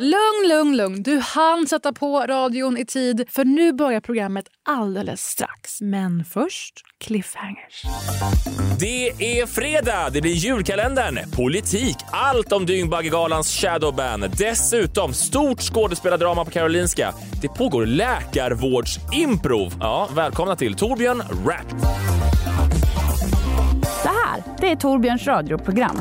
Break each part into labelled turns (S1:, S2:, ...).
S1: Lugn, lugn, lugn. Du hann sätta på radion i tid för nu börjar programmet alldeles strax. Men först cliffhangers.
S2: Det är fredag, det blir julkalendern, politik, allt om Dyngbaggegalans shadowban. Dessutom stort skådespelardrama på Karolinska. Det pågår läkarvårdsimprov. Ja, välkomna till Torbjörn Rapp.
S3: Det här, det är Torbjörns radioprogram.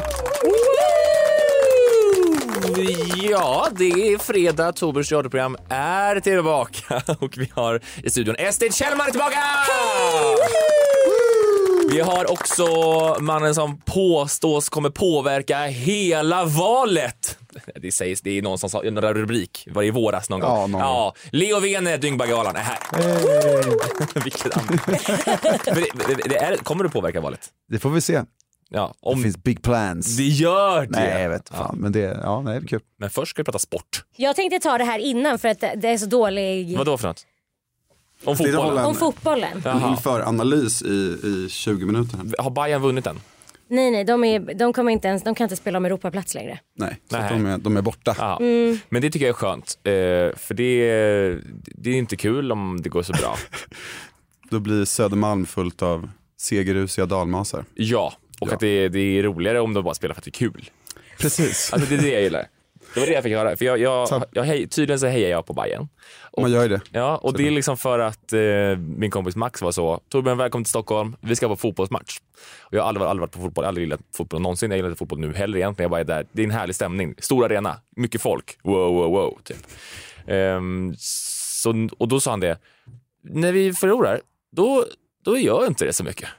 S2: Ja, det är fredag. Torbjörns radioprogram är tillbaka och vi har i studion Estrid Kjellman är tillbaka! Vi har också mannen som påstås kommer påverka hela valet. Det sägs, det är någon som sa, en rubrik, var det i våras någon gång?
S4: Ja, någon gång.
S2: ja Leo Vene, Dyngbaggegalan är här. Vilket namn. Men det, det, det är, kommer du påverka valet?
S4: Det får vi se.
S2: Ja,
S4: Det
S2: om
S4: finns big plans.
S2: det gör det.
S4: Nej, jag vet fan, men det, ja, nej, det är kul.
S2: Men först ska vi prata sport.
S5: Jag tänkte ta det här innan för att det är så dålig...
S2: Vad då för något? Om
S6: Det är
S2: fotbollen?
S6: Holland.
S5: Om fotbollen.
S2: Jaha.
S6: inför analys i, i 20 minuter. här.
S2: Har Bayern vunnit den?
S5: Nej, nej, de, är, de, kommer inte ens, de kan inte spela om Europaplats längre.
S6: Nej, så
S2: Nej.
S6: att de, är, de är borta.
S2: Ja. Men det tycker jag är skönt. eh, För det, det är inte kul om det går så bra.
S6: Då blir Södermalm fullt av segerrusiga dalmasar.
S2: Ja, och
S6: Ja.
S2: att det, det är roligare om de bara spelar för att det är kul.
S6: Precis.
S2: Alltså det är det jag gillar. Det var det jag fick höra. För jag, jag, jag, hej, tydligen så hejar jag på Bayern.
S6: Man gör ju det.
S2: Ja, och det är liksom för att eh, min kompis Max var så. Torbjörn, välkommen till Stockholm. Vi ska på fotbollsmatch. Och jag har aldrig, aldrig varit på fotboll, aldrig gillat fotboll någonsin. Jag gillar inte fotboll nu heller egentligen. Jag bara är där. Det är en härlig stämning. Stor arena, mycket folk. Wow, wow, wow. Typ. Ehm, så, och då sa han det. När vi förlorar, då, då gör jag inte det så mycket.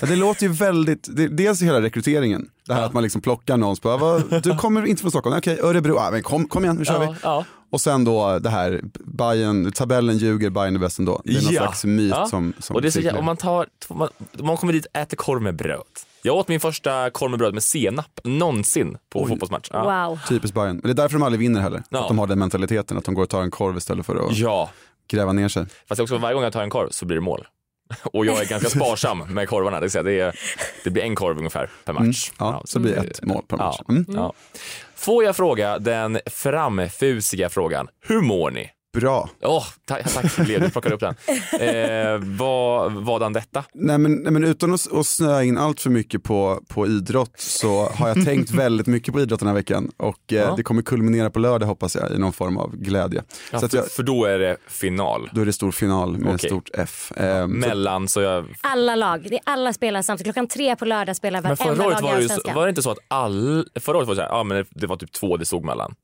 S6: Ja, det låter ju väldigt, det, dels hela rekryteringen, det här att man liksom plockar någon och bara, "Vad, du kommer inte från Stockholm, okej Örebro, ah, men kom, kom igen nu kör
S2: Ja,
S6: vi.
S2: ja.
S6: Och sen då det här, Bayern, tabellen ljuger, Bayern är bäst ändå. Det är någon
S2: Ja.
S6: slags myt
S2: Ja.
S6: som, som
S2: och det är så,
S6: cirkulerar.
S2: jä- om man, tar, man, man kommer dit och äter korv med bröd. Jag åt min första korv med bröd med senap någonsin på fotbollsmatch. Ja.
S5: Wow.
S6: Typiskt Bayern, men det är därför de aldrig vinner heller.
S2: Ja.
S6: Att de har den mentaliteten, att de går och tar en korv istället för att
S2: ja,
S6: gräva ner sig.
S2: fast det är också varje gång jag tar en korv så blir det mål. Och jag är ganska sparsam med korvarna. Det, vill säga, det, är, det blir en korv ungefär per match.
S6: Mm, Ja, så det blir ett mål per match. Mm.
S2: Ja. Får jag fråga den framfusiga frågan. Hur mår ni?
S6: Bra.
S2: Åh, oh, ta- tack Leo, du plockade upp den. Eh, vad, vad han detta?
S6: Nej men, nej, men utan att, att snöa in allt för mycket på, på idrott så har jag tänkt väldigt mycket på idrott den här veckan och eh,
S2: Ja.
S6: det kommer kulminera på lördag hoppas jag i någon form av glädje.
S2: Ja,
S6: så att
S2: för,
S6: jag,
S2: för då är det final.
S6: då är det stor final med
S2: Okej.
S6: stort F. Eh, så,
S2: Mellan, så jag
S5: Alla lag, det är alla spelar samtidigt. Klockan tre på lördag spelar
S2: Men
S5: varenda
S2: förra året
S5: lag i
S2: var det, ju så,
S5: Allsvenskan.
S2: var det inte så att all, förra året var det så här, ja, men det- det var typ två det stod mellan.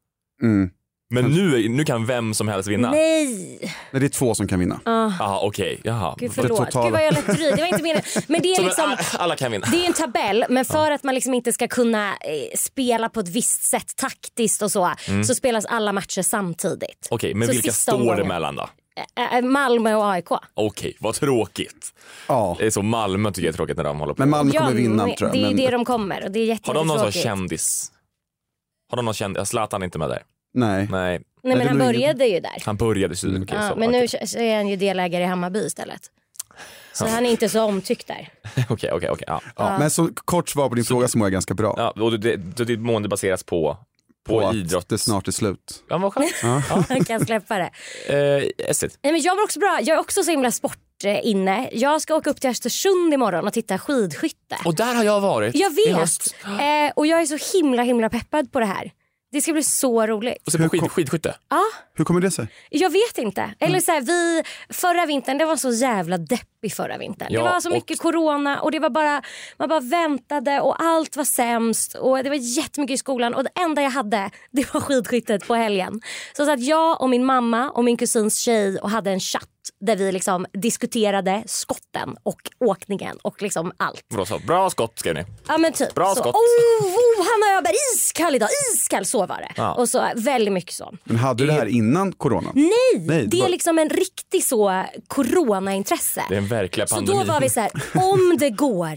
S6: mm.
S2: Men nu, är- nu kan vem som helst vinna.
S5: Nej!
S6: Nej, det är två som kan vinna.
S2: Jaha, okej. Jaha.
S5: Gud,
S2: Så
S5: förlåt.
S6: totala.
S5: Gud vad jag lät dryg. Det var inte meningen. Men det är
S2: men
S5: liksom...
S2: a- alla kan vinna.
S5: Det är ju en tabell, men för att man liksom inte ska kunna eh, spela på ett visst sätt taktiskt och så, så spelas alla matcher samtidigt.
S2: Mm. Okej, men
S5: Så
S2: vilka
S5: sista
S2: står det
S5: omgången.
S2: mellan då?
S5: Eh, eh, Malmö och AIK.
S2: Okej, vad tråkigt.
S6: Ja.
S2: Det är så Malmö tycker jag är tråkigt när de håller på.
S6: Men Malmö
S5: Ja,
S6: kommer vinna
S5: men
S6: tror jag.
S5: Det är ju
S6: men,
S5: det de kommer och det är jätte-
S2: Har de någon sån
S5: jättetråkigt.
S2: kändis? Har de någon kändis? Ja, Zlatan är inte med där.
S6: Nej.
S2: Nej,
S5: Nej
S6: Nej,
S5: men
S6: det
S5: han
S6: är nog inget-
S5: började ju där.
S2: han började i Sydafrika.
S5: Mm. Ja,
S2: så-
S5: men
S2: Ah, okej.
S5: nu k- så är han ju delägare i Hammarby istället. Så han är inte så omtyckt där.
S2: Okej, okej, okej. ja.
S6: Ja. Men så kort svar på din fråga så mår jag ganska bra.
S2: Ja, och det- det- det- ditt mående baseras på, på,
S6: att
S2: idrott?
S6: det snart är slut.
S2: Ja, vad skönt.
S5: Han kan släppa det.
S2: Eh, Estrid,
S5: Nej, men jag, var också bra. jag är också så himla sport eh, inne. Jag ska åka upp till Östersund imorgon och titta skidskytte.
S2: och där har jag varit
S5: Jag
S2: i
S5: vet.
S2: höst.
S5: Eh, och jag är så himla himla peppad på det här. Det ska bli så roligt.
S2: Och så på skid, skidskytte.
S6: Hur kommer det sig?
S5: Jag vet inte.
S2: Mm.
S5: Eller så här, vi, förra vintern, det var så jävla deppig förra vintern.
S2: Ja,
S5: det var så
S2: och-
S5: mycket corona och det var bara, man bara väntade och allt var sämst och det var jättemycket i skolan och det enda jag hade det var skidskyttet på helgen. Så att jag och min mamma och min kusins tjej och hade en chatt där vi liksom diskuterade skotten och åkningen och liksom allt.
S2: Och då sa bra skott skrev ni.
S5: Ja men typ
S2: Bra
S5: så.
S2: skott.
S5: Oh, oh, Hanna Öberg, iskall idag, iskall, så var det.
S2: Ja.
S5: Och så väldigt mycket så.
S6: Men hade du det här innan corona? Nej,
S5: liksom Det är liksom en riktig så coronaintresse.
S2: Det är en Verkliga
S5: Så
S2: pandemin.
S5: då var vi så här, om det går,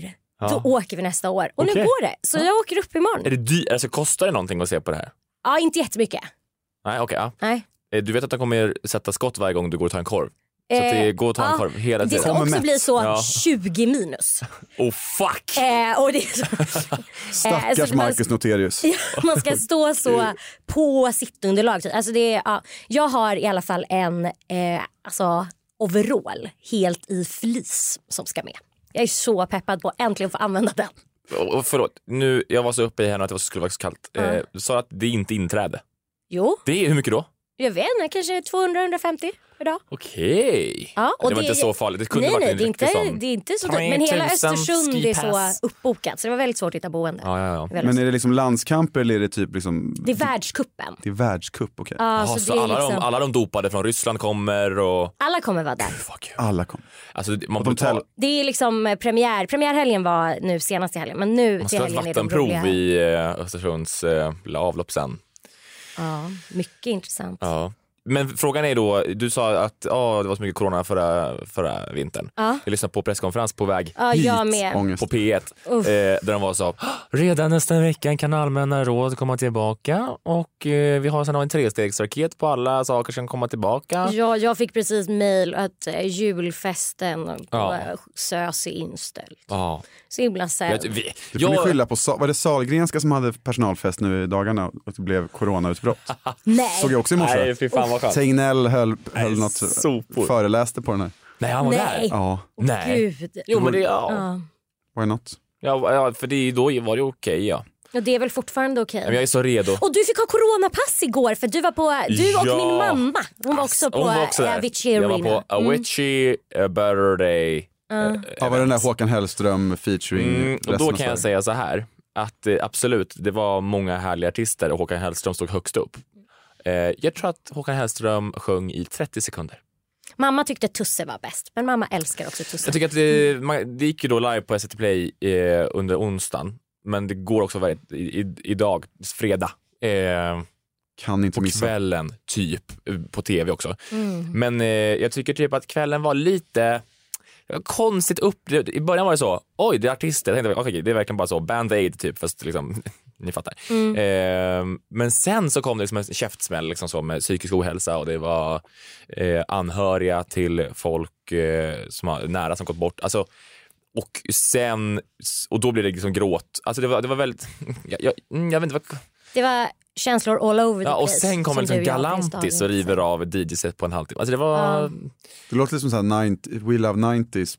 S5: då åker vi nästa år. Och nu
S2: Okej.
S5: går det, så jag åker upp
S2: Är
S5: imorgon.
S2: det dyrt? Alltså kostar det någonting att se på det här?
S5: Ja, inte jättemycket.
S2: Nej, okej. ja.
S5: Nej.
S2: Eh, Du vet att de kommer sätta skott varje gång du går och tar en korv? Så att
S5: Eh,
S2: det går att ta en
S5: ja.
S2: korv hela
S5: Det
S2: tiden.
S5: ska också
S6: mätt.
S5: bli så
S2: Ja.
S5: 20 minus.
S2: Oh fuck!
S5: Eh, och det är så, Eh,
S6: Stackars
S5: så man-
S6: Marcus Noterius.
S5: Ja, man ska stå
S2: Mm.
S5: så på sittunderlag. Typ. Alltså det är, ja, jag har i alla fall en eh, alltså, overall helt i flis som ska med. Jag är så peppad på att äntligen få använda den.
S2: Och- och Förlåt, nu, jag var så uppe i henne att det var- skulle vara så kallt. Eh, du sa att det är inte inträde.
S5: Jo,
S2: Det är hur mycket då?
S5: jag vet inte, kanske 200-150 idag.
S2: Okej.
S5: Ja,
S2: det var inte så farligt. Det kunde
S5: nej,
S2: varit
S5: nej,
S2: en
S5: det är
S2: riktig
S5: inte,
S2: sån...
S5: det är inte så dyrt. Men
S2: 3000
S5: hela Östersund är
S2: skipass.
S5: så uppbokat så det var väldigt svårt att hitta boende.
S2: Ja, ja, ja.
S5: Väldigt
S6: Men
S5: svårt.
S6: är det liksom landskamper eller är det typ liksom...
S5: det är världscupen.
S6: Det är världscup, okej.
S5: Ja,
S2: Jaha,
S5: så
S2: så
S5: det är
S2: Alltså, alla, de,
S5: liksom-
S2: alla de dopade från Ryssland kommer och...
S5: alla kommer vara där.
S2: Fuck you.
S6: Alla kom.
S2: Alltså, det- man
S6: de
S2: betalar...
S6: täl-
S5: Det är liksom eh, premiär. Premiärhelgen var nu senast i helgen men nu
S2: Man ska
S5: till
S2: ha ett
S5: helgen är det de
S2: vattenprov
S5: roliga.
S2: i eh, Östersunds eh, lilla avlopp sen.
S5: Ja, mycket intressant. Ja.
S2: Ja. Men frågan är då, du sa att ja, det var så mycket corona förra, förra vintern.
S5: Ja.
S2: Jag lyssnade på presskonferens på väg
S5: jag med.
S6: Ångest.
S2: på P1 eh,
S5: Uff.
S2: där de var så redan nästa vecka kan allmänna råd komma tillbaka och eh, vi har sedan en trestegsraket på alla saker som kommer tillbaka.
S5: Ja, jag fick precis mejl att eh, julfesten på
S2: Ja.
S5: ja. SÖS är inställd.
S2: Ja.
S5: Så himla sämst.
S2: Jag, vi,
S6: Du får ni
S2: jag,
S6: skylla på, Sa- var det Sahlgrenska som hade personalfest nu i dagarna och det blev coronautbrott?
S5: Nej.
S6: Såg jag också i morse.
S2: nej, fy fan vad skönt.
S6: Tegnell höll, höll
S2: Nej,
S6: något,
S2: sopor.
S6: föreläste på den här.
S2: Nej, han var
S5: Nej.
S2: där.
S6: Ja,
S2: Nej.
S5: Gud.
S2: Jo, men det, ja.
S5: Ja.
S6: why not?
S2: Ja, ja, för det, då var det okej ja.
S5: Och det är väl fortfarande okej.
S2: Men jag är så redo.
S5: Och du fick ha coronapass igår för du var på, du och
S2: Ja.
S5: min mamma. Hon var också på
S2: Hon var också
S5: eh,
S2: där.
S5: Avicii
S2: Jag
S5: Arena.
S2: var på Avicii, A Better Day.
S5: Mm.
S2: eh,
S6: Ja, var det den där Håkan Hellström featuring
S2: Mm, och
S6: resten
S2: då
S6: av
S2: kan
S6: Sverige?
S2: jag säga så här att eh, absolut, det var många härliga artister och Håkan Hellström stod högst upp. Eh, jag tror att Håkan Hellström sjöng i 30 sekunder.
S5: Mamma tyckte Tusse var bäst, men mamma älskar också Tusse.
S2: Jag tycker att det, man, det gick ju då live på SVT Play eh, under onsdagen, men det går också varje, i, i, idag, fredag. Eh,
S6: Kan inte
S2: på
S6: missa.
S2: kvällen, typ, eh, på tv också. Men eh, jag tycker typ att kvällen var lite det var konstigt upp. I början var det så, oj det är artister, jag tänkte, okay, det är verkligen bara så, band-aid typ, fast liksom, ni fattar. Eh, men sen så kom det liksom en käftsmäll liksom så, med psykisk ohälsa och det var eh, anhöriga till folk eh, som har, nära som gått bort. Alltså, och sen, och då blev det liksom gråt. Alltså det var, det var väldigt, jag, jag, mm, jag vet inte, vad-
S5: Det var känslor all over the
S2: Ja, och
S5: place,
S2: sen kommer
S5: som
S2: liksom
S5: du och jag minns
S2: Galantis och
S5: dagen.
S2: river av DJ-set på en halvtimme. Alltså det var,
S5: Ja.
S6: Det låter lite som så här 90, We Love 90s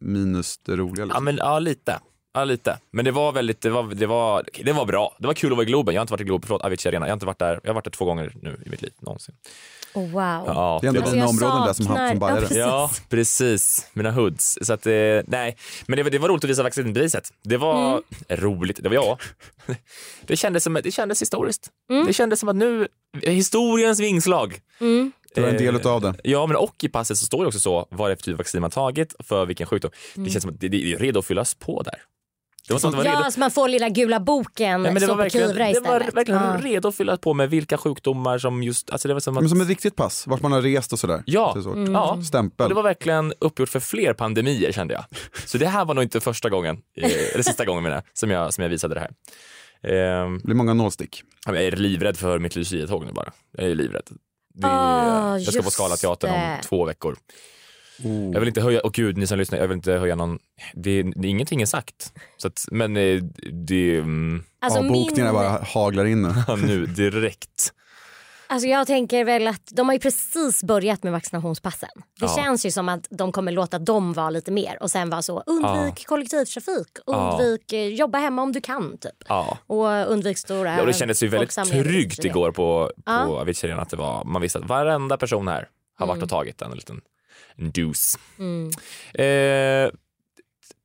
S6: minus det roliga.
S2: ja,
S6: Liksom.
S2: men, ja lite. Ja, lite. Men det var väldigt, det var, det var, det var bra. Det var kul att vara i Globen. Jag har inte varit i Globen, förlåt, Avicii Arena. Jag har inte varit där, jag har varit där två gånger nu i mitt liv någonsin.
S5: Oh, wow.
S2: Ja,
S6: Det är ändå
S2: var-
S5: Alltså,
S6: dina
S5: jag
S6: områden där som
S5: saknar-
S6: han som bajare.
S5: Ja, precis.
S2: Ja, precis. Mina hoods. Så att, eh, nej. Men det, var- det var roligt att visa vaccinbeviset. Det var
S5: Mm.
S2: roligt. Det var jag. Det kändes, som, det kändes historiskt.
S5: Mm.
S2: Det kändes som att nu, historiens vingslag.
S6: Det var en
S2: eh,
S6: del utav det.
S2: Ja, men och i passet så står det också så vad det är för typ av vaccin man tagit för vilken sjukdom. Det känns som att det, det är redo att fyllas på där. Det var som att det var
S5: Mm. Ja,
S2: redo.
S5: så man får lilla gula boken
S2: Nej, men det
S5: så
S2: var
S5: på
S2: verkligen,
S5: Kivra
S2: det var
S5: istället.
S2: verkligen
S5: Ja.
S2: redo att fyllas på med vilka sjukdomar som just, alltså det var som att,
S6: Men som ett riktigt pass, vart man har rest och sådär.
S2: Ja.
S6: Så det är
S5: Mm.
S6: svårt.
S2: ja, och
S6: Stämpel.
S2: det var verkligen uppgjort för fler pandemier kände jag. Så det här var nog inte första gången, eh, eller sista gången menar jag, som jag, som jag visade det här. Ehm,
S6: Det blir många nålstick.
S2: jag är livrädd för mitt Lucia-tåg nu bara. Jag är livrädd. Det är,
S5: Ah,
S2: jag ska på
S5: just
S2: Scalateatern om
S5: det.
S2: två veckor. Jag vill inte höja, och gud ni som lyssnar, jag vill inte höja någon, det, det, ingenting är sagt. Så att, men eh, det, mm,
S5: Alltså,
S6: Avbokningarna
S5: min,
S6: bara haglar in nu.
S2: nu direkt.
S5: alltså jag tänker väl att de har ju precis börjat med vaccinationspassen. Det
S2: Ja.
S5: känns ju som att de kommer låta dem vara lite mer och sen vara så undvik kollektivtrafik,
S2: Ja.
S5: undvik eh, jobba hemma om du kan typ.
S2: Ja.
S5: Och undvik stora
S2: Ja, och det kändes ju väldigt
S5: folksamlingar.
S2: tryggt igår på, på
S5: Ja.
S2: Avicii Arena att det var, man visste att varenda person här har varit och tagit en liten en dos.
S5: Mm.
S2: Eh,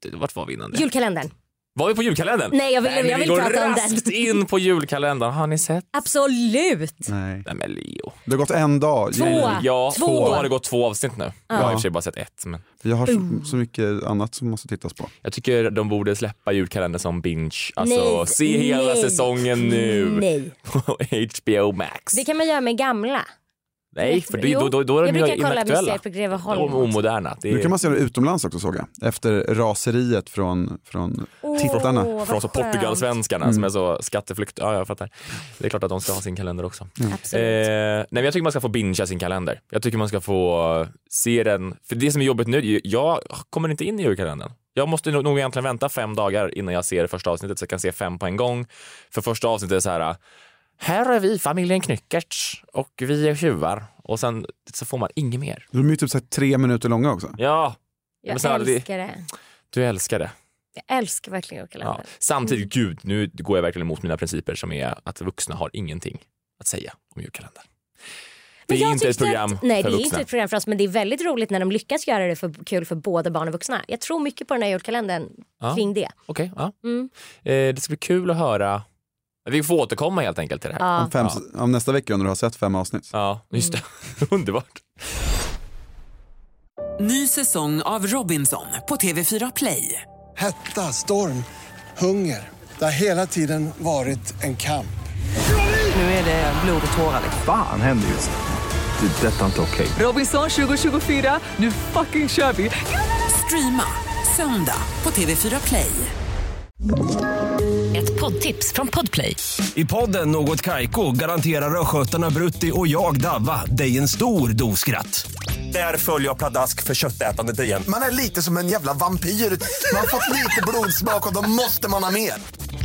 S2: d- vart var vi innan det?
S5: Julkalendern.
S2: var vi på julkalendern?
S5: Nej, jag vill-
S2: men
S5: jag
S2: vi
S5: vill
S2: går
S5: prata om den.
S2: raskt in på julkalendern. Har ni sett?
S5: Absolut!
S6: Nej.
S2: Nej men Leo.
S6: Det har gått en dag.
S5: Två.
S6: Jag-
S2: Ja,
S5: Två.
S2: då har det gått två avsnitt nu. Jag har i och för sig bara sett ett. Men
S6: Jag har
S5: Oh.
S6: så, så mycket annat som måste tittas på.
S2: jag tycker de borde släppa julkalendern som binge. Alltså
S5: Nej,
S2: se hela
S5: nej,
S2: säsongen nu
S5: Nej.
S2: på HBO Max.
S5: Det kan man göra med gamla.
S2: Nej, för det- då, då, då är
S5: jag
S2: de ju
S5: brukar kolla
S2: inaktuella.
S5: museer på Greveholm.
S2: Och omoderna. Det är...
S6: Nu kan man se det utomlands också såg jag. Efter raseriet från, från
S5: Åh,
S6: tittarna.
S5: vad
S2: Från alltså så
S5: skönt.
S2: Portugalsvenskarna
S6: Mm.
S2: som är så skatteflykt. Ja, jag fattar. Det är klart att de ska ha sin kalender också. Eh,
S5: Absolut.
S2: nej, men jag tycker man ska få bingea sin kalender. Jag tycker man ska få se den. För det som är jobbigt nu, jag kommer inte in i julkalendern. Jag måste nog nog egentligen vänta fem dagar innan jag ser det första avsnittet så jag kan se fem på en gång. För första avsnittet är så här, här är vi familjen Knyckertz och vi är tjuvar. Och sen så får man inget mer.
S6: De är ju typ så här tre minuter långa också.
S2: Ja, men
S5: Jag
S2: snälla, det-
S5: älskar det.
S2: du älskar det.
S5: Jag älskar verkligen
S2: Ja.
S5: julkalendern.
S2: Samtidigt,
S5: Mm.
S2: gud, nu går jag verkligen emot mina principer som är att vuxna har ingenting att säga om julkalendern. Det
S5: Men jag
S2: är inte ett
S5: tyckte
S2: program
S5: att, nej,
S2: för
S5: det är
S2: vuxna.
S5: inte ett program för oss men det är väldigt roligt när de lyckas göra det för, kul för både barn och vuxna. Jag tror mycket på den här julkalendern
S2: Ja.
S5: kring det.
S2: Okej, ja.
S5: Mm.
S2: Eh, det ska bli kul att höra. Vi får återkomma helt enkelt till det här.
S5: Ja.
S6: Om, fem, om nästa vecka när du har sett fem avsnitt.
S2: Ja, just det.
S5: Mm.
S2: Underbart.
S7: Ny säsong av Robinson på TV4 Play.
S8: Hetta, storm, hunger. Det har hela tiden varit en kamp.
S7: Nu är det blod och tårar. liksom.
S9: Fan händer just det. Det är detta inte okej.
S7: Robinson 2024, nu fucking kör vi! Streama söndag på TV4 Play.
S10: Ett poddtips från Podplay.
S11: I podden Något Kaiko garanterar östgötarna Brutti och jag, Davva, dig en stor dos skratt. Där följer jag pladask för köttätandet igen.
S12: Man är lite som en jävla vampyr. Man har fått lite blodsmak och då måste man ha mer.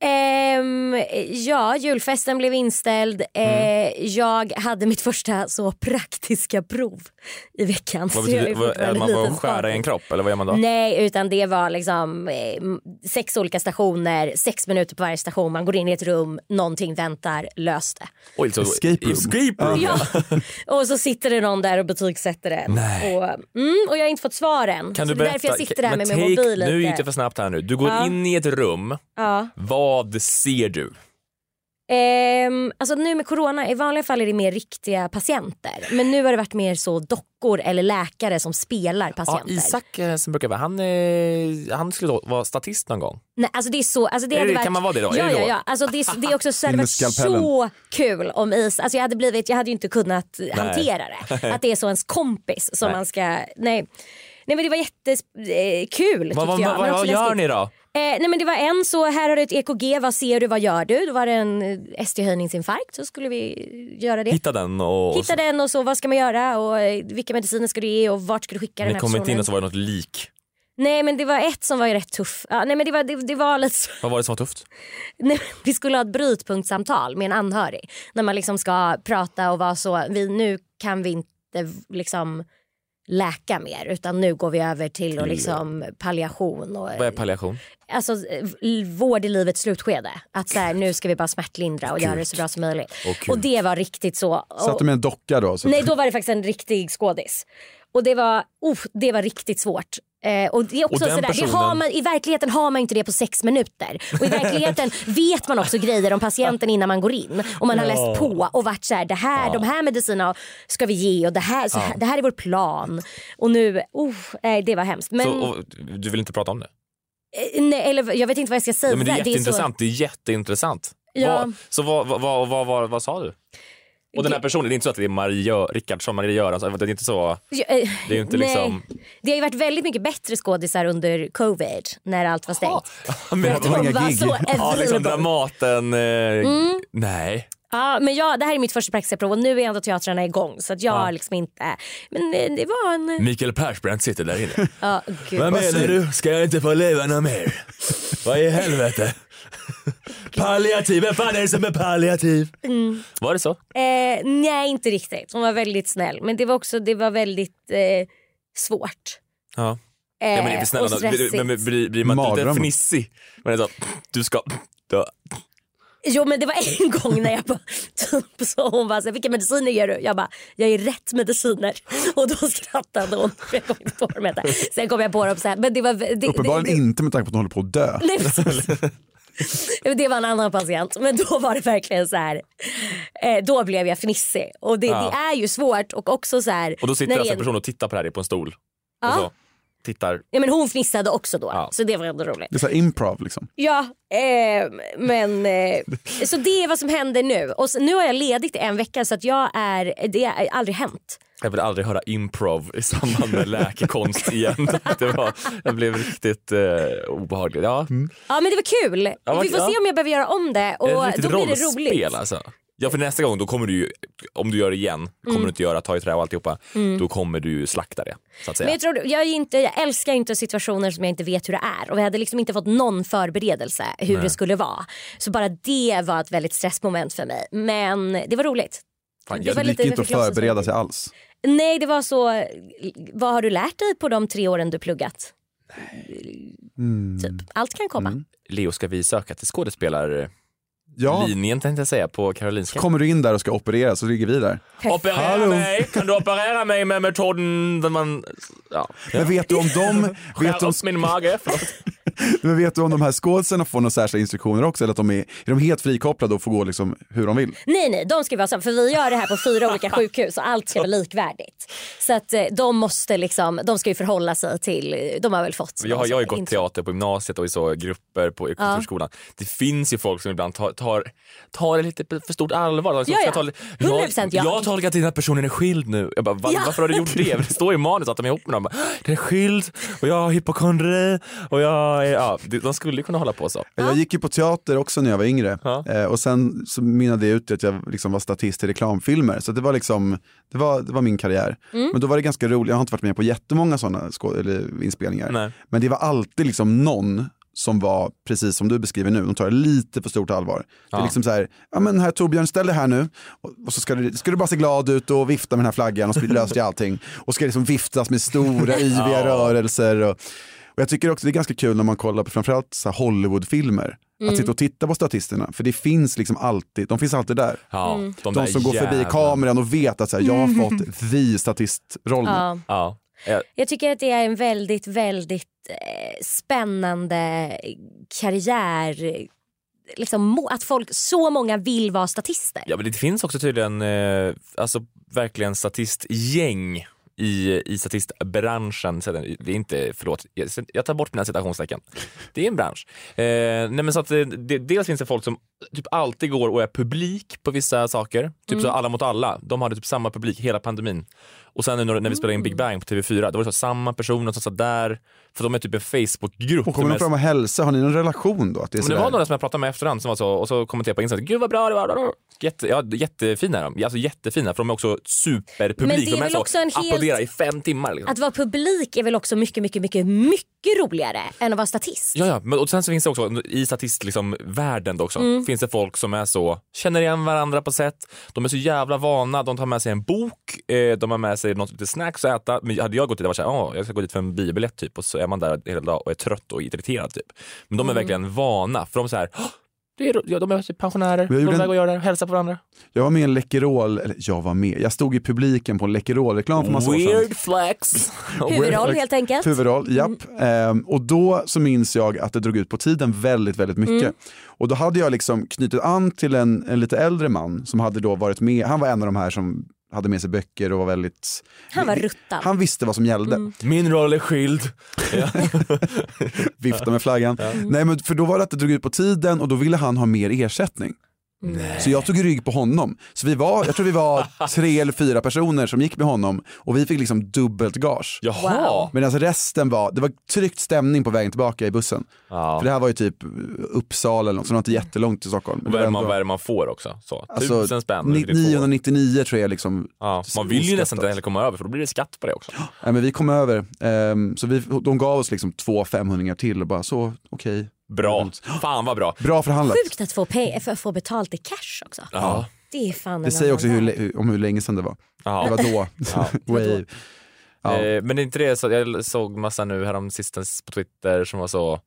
S5: Ehm, ja, julfesten blev inställd. Eh,
S2: Mm.
S5: jag hade mitt första så praktiska prov i veckan.
S2: Vad
S5: Så jag
S2: betyder,
S5: är
S2: vad, är
S5: fortfarande
S2: man får
S5: liten
S2: skära i en
S5: skadis.
S2: kropp eller vad gör man då?
S5: Nej, utan det var liksom eh, m- sex olika stationer, sex minuter på varje station. Man går in i ett rum, någonting väntar, lös det.
S2: Oj, så,
S6: Escape room.
S2: Escape room.
S5: Ja. och så sitter det någon där och betygsätter det.
S2: Nej.
S5: Och, mm, och jag har inte fått svar
S2: Kan
S5: än. så
S2: du
S5: det är
S2: berätta?
S5: därför jag sitter där
S2: Men
S5: med min
S2: take-
S5: mobil lite.
S2: Nu gick det för snabbt här nu. Du går
S5: Ja.
S2: in i ett rum.
S5: ja.
S2: Vad ser du?
S5: Ehm, alltså nu med corona, i vanliga fall är det mer riktiga patienter. Men nu har det varit mer så dockor eller läkare som spelar
S2: Ja,
S5: patienter.
S2: Isak eh, som brukar vara, han, eh, han skulle då vara statist någon gång.
S5: Nej, alltså det är så, alltså det
S2: Är
S5: hade
S2: det-
S5: varit,
S2: kan man vara det då?
S5: Ja,
S2: Är det då?
S5: ja, ja. Alltså det, är, det är också så, det
S6: In
S5: hade
S6: med
S5: varit
S6: skalpellen.
S5: så kul om is. Alltså jag hade blivit, jag hade ju inte kunnat hantera det. Att det är så ens kompis som
S2: Nej.
S5: man ska, nej. Nej men det var jättekul eh, kul,
S2: Vad, vad,
S5: tyckte jag.
S2: vad,
S5: men också
S2: vad gör
S5: läskigt.
S2: ni då?
S5: Eh, nej men det var en så, här har du ett EKG, vad ser du, vad gör du? Då var det en eh, ST-höjningsinfarkt så skulle vi göra det.
S2: Hitta den och...
S5: Hitta den och så vad ska man göra och eh, vilka mediciner ska du ge och vart ska du skicka den
S2: Ni
S5: här
S2: kom inte in
S5: personen?
S2: och så var det något lik.
S5: Nej men det var ett som var ju rätt tuff. Ja, nej men det var, det, det var lite så.
S2: Vad var det som var tufft?
S5: Nej, men vi skulle ha ett brytpunktssamtal med en anhörig. När man liksom ska prata och vara så, vi, nu kan vi inte liksom läka mer utan nu går vi över till och liksom palliation. Och,
S2: eh, Vad är palliation?
S5: alltså, eh, vård i livets slutskede. Att så här, nu ska vi bara smärtlindra och göra det så bra som möjligt.
S2: Och
S5: Och det var riktigt så.
S6: Satt
S5: Och-
S6: du med en docka då?
S2: Typ.
S6: Så
S5: Nej, då var det faktiskt en riktig skådis. Och det var, oh, det var riktigt svårt. Eh, och det är
S2: Och
S5: också
S2: den
S5: sådär,
S2: personen-
S5: det har man, I verkligheten har man inte det på sex minuter. Och I verkligheten vet man också grejer om patienten innan man går in. Och man har läst på och varit så här, det här, de här medicinerna ska vi ge och det här, så här, det här är vår plan. Och nu, oh, nej, det var hemskt. Men,
S2: Så, och, du vill inte prata om det?
S5: eh, nej, eller, jag vet inte vad jag ska säga.
S2: Ja, men det är
S5: så-
S2: jätteintressant. Det är, jätteintressant.
S5: Ja.
S2: Vad, så vad, vad, vad, vad, vad, vad sa du? Och den här personen, det är inte så att det är Maria Rickardsson, Maria Göransson, alltså, det är inte så...
S5: Ja, eh,
S2: Det är ju inte
S5: nej.
S2: liksom-
S5: Det har ju varit väldigt mycket bättre skådisar under covid när allt var stängt.
S2: Men,
S5: Att de var så Mm.
S2: ja, liksom
S5: available.
S2: Dramaten... Eh, Nej.
S5: Ja, men jag, det här är mitt första praktiska prov och nu är ändå teatrarna igång så att jag har liksom inte... Men eh, det var en...
S2: Mikael Persbrandt sitter där inne.
S5: Ja, gud.
S2: Vad menar du? Ska jag inte få leva något mer? Vad i helvete? palliativ, vem fan är det som är palliativ?
S5: Mm.
S2: Var det så?
S5: Eh, nej, inte riktigt. Hon var väldigt snäll men det var också det var väldigt eh, svårt.
S2: Ja.
S5: Eh,
S2: Ja, men det är snälla,
S5: och
S2: då, blir,
S5: stressigt.
S2: men blir, blir man inte lite
S6: Mardröm.
S2: fnissig? Men det är så, du ska dö.
S5: Jo men det var en gång när jag bara, typ så hon bara så här, vilka mediciner ger du? Jag bara, jag ger rätt mediciner. Och då skrattade hon. Jag kom inte på vad de hette. Sen kom jag på dem så här, men det var... Det, det,
S6: uppenbarligen
S5: det,
S6: inte med tanke på att de håller på att dö.
S5: Nej, precis. Det var en annan patient. Men då var det verkligen så här. Eh, då blev jag fnissig. Och det,
S2: Ja.
S5: det är ju svårt. Och också så här.
S2: Och då sitter
S5: när
S2: alltså
S5: det är-
S2: en person och tittar på det här på en stol.
S5: Ja.
S2: Och så tittar.
S5: Ja, men hon fnissade också då.
S2: Ja.
S5: Så det var ändå roligt.
S6: Det är så här improv liksom.
S5: Ja, eh, men eh, så det är vad som händer nu. Och så, nu har jag ledigt i en vecka så att jag är, det har aldrig hänt.
S2: Jag vill aldrig höra improv i samband med läkekonst igen. Det, var, det blev riktigt eh, obehagligt. Ja.
S6: Mm.
S5: Ja men det var kul.
S2: Ja, vad-
S5: Vi får
S2: ja.
S5: se om jag behöver göra om det och
S2: Ett
S5: då
S2: riktigt
S5: blir det
S2: rollspel,
S5: roligt.
S2: Alltså. Ja för nästa gång då kommer du ju, om du gör det igen, kommer
S5: Mm.
S2: du inte göra ta i trä och alltihopa,
S5: Mm.
S2: då kommer du ju slakta det. Så att säga.
S5: Men jag, tror, jag, är inte, jag älskar inte situationer som jag inte vet hur det är. Och Vi hade liksom inte fått någon förberedelse hur
S2: Nej.
S5: det skulle vara. Så bara det var ett väldigt stressmoment för mig. Men det var roligt.
S6: Fan,
S5: det var
S6: det gick
S5: lite
S6: inte att
S5: Klosses-
S6: förbereda sig alls.
S5: Nej, det var så... Vad har du lärt dig på de tre åren du pluggat?
S2: Mm.
S5: Typ. Allt kan komma.
S2: Leo, ska vi söka till skådespelarlinjen
S6: Ja.
S2: tänkte jag säga på Karolinska?
S6: Kommer du in där och ska operera så ligger vi där.
S2: Operera mig! Kan du operera mig med metoden där man... Ja.
S6: Men vet du om de, vet
S2: Skär
S6: du om,
S2: upp min mage, förlåt.
S6: men vet du om de här skådisarna får några särskilda instruktioner också eller att de är, är de helt frikopplade och får gå liksom hur de vill?
S5: Nej, nej, de ska vara samma. För vi gör det här på fyra olika sjukhus och allt ska vara likvärdigt. Så att eh, de måste liksom, de ska ju förhålla sig till, de har väl fått.
S2: Jag har, jag har ju gått teater på gymnasiet och i så grupper på i kulturskolan. Det finns ju folk som ibland tar, tar, tar det lite på- för stort allvar. De Liksom,
S5: Ja,
S2: ska
S5: ja.
S2: ta det-
S5: 100% ja.
S2: jag har tolkat in att personen är skild nu. Jag bara, va,
S5: Ja.
S2: Varför har du gjort det? Det står i manus att de är ihop med dem. Den är skild och jag har hypokondri och jag är, ja, det- de skulle ju kunna hålla på så.
S6: Jag gick ju på teater också när jag var yngre eh, och sen så mynnade det ut i att jag liksom var statist i reklamfilmer. Så det var, liksom, det var, det var min karriär.
S11: Mm.
S6: Men då var det ganska roligt, jag har inte varit med på jättemånga sådana skå- eller inspelningar.
S2: Nej.
S6: Men det var alltid liksom någon som var precis som du beskriver nu, de tar det lite för stort allvar. Det
S2: Ja.
S6: är liksom så här, ja men här Torbjörn, ställ dig här nu och, och så ska du, ska du bara se glad ut och vifta med den här flaggan och så blir- löser det allting. Och ska liksom viftas med stora yviga
S2: Ja.
S6: rörelser. Och, och jag tycker också det är ganska kul när man kollar på framförallt så här Hollywoodfilmer.
S2: Mm.
S6: Att sitta och titta på statisterna, för det finns liksom alltid, de finns alltid där.
S2: Ja,
S5: Mm.
S6: De,
S2: där
S6: som går förbi
S2: jävlarna.
S6: kameran och vet att så här, jag har
S5: Mm.
S6: fått the statistrollen.
S5: Ja.
S2: Ja. Eh,
S5: Jag tycker att det är en väldigt, väldigt eh, spännande karriär. Liksom, må- att folk, så många vill vara statister.
S2: Ja, men det finns också tydligen eh, alltså, verkligen statistgäng i, i statistbranschen. Så den- Det är inte, förlåt, jag- jag tar bort mina citationstecken. Det är en bransch. Eh, nej, men så att, eh, det, dels finns det folk som typ alltid går och är publik på vissa saker. Typ så Alla mot alla. De hade typ samma publik hela pandemin. Och sen nu när, när vi spelade in Big Bang på TV4, då var det så samma personer som satt där. För de är typ en Facebookgrupp.
S6: Och kommer de
S2: är-
S6: fram och hälsa, har ni någon relation då? Att det är
S2: men
S6: så
S2: det var
S6: där?
S2: några som jag pratade med efterhand som var så, och så kommenterade på Instagram, gud vad bra det var. Jätte, ja, jättefina är de, alltså jättefina för de är också superpublik.
S5: Men det är
S2: de
S5: väl
S2: så,
S5: också en helt-
S2: applåderar i fem timmar. Liksom.
S5: Att vara publik är väl också mycket, mycket, mycket, mycket roligare än att vara statist.
S2: Ja, ja. Men, och sen så finns det också i statist, liksom, världen då också,
S5: Mm.
S2: finns det folk som är så, känner igen varandra på sätt, de är så jävla vana, de tar med sig en bok, eh, de har med sig något lite snacks att äta. Men hade jag gått dit och varit såhär, "Ah, jag ska gå dit för en biobiljett typ och så är man där hela dagen och är trött och irriterad typ. Men de är
S5: Mm.
S2: verkligen vana för de är såhär, "Åh, det är, ro- ja, de är typ pensionärer,
S6: Men jag
S2: de går
S6: gjorde en-
S2: iväg och gör det här, hälsar på varandra.
S6: Jag var med i en Läkerol, eller jag var med, jag stod i publiken på en Läkerol-reklam för massa år sedan.
S2: Weird flex.
S5: Huvudroll helt enkelt.
S6: Huvudroll, japp.
S5: Mm.
S6: Ehm, och då så minns jag att det drog ut på tiden väldigt, väldigt mycket.
S5: Mm.
S6: Och då hade jag liksom knutit an till en, en lite äldre man som hade då varit med, han var en av de här som hade med sig böcker och var väldigt,
S5: Han var ruttad. Mm.
S6: han visste vad som gällde.
S2: Min roll är skild.
S6: Vifta med flaggan. Nej men för då var det att det drog ut på tiden och då ville han ha mer ersättning. Så jag tog rygg på honom. Så vi var, jag tror vi var tre eller fyra personer som gick med honom och vi fick liksom dubbelt gage.
S2: Jaha. Wow.
S6: Medan resten var, det var tryckt stämning på vägen tillbaka i bussen.
S2: Ja.
S6: För det här var ju typ Uppsala eller något, så det var inte jättelångt till Stockholm.
S2: Och
S6: Det
S2: vad är,
S6: var
S2: det man,
S6: ändå-
S2: vad är det man får också? Så, typ,
S6: alltså,
S2: tusen spänn.
S6: ni-
S2: vilket får.
S6: 999 tror jag liksom.
S2: Ja, man vill ju nästan inte heller komma över för då blir det skatt på det också.
S6: Nej, men vi kom över, ehm, så vi, de gav oss liksom två 500 till och bara så, okej. Mm.
S2: Bra. Fan vad bra.
S6: Bra förhandlat.
S5: Sjukt att få, pe- för, få betalt i cash också.
S2: Ja.
S5: Det är fan
S6: Det
S5: en
S6: säger
S5: annan
S6: också hur, le- hur- om hur länge sedan det var.
S2: Ja.
S6: Det var då.
S2: Ja.
S6: Wave. Ja.
S2: Eh, men är inte det så, jag såg massa nu härom sistens på Twitter som var så,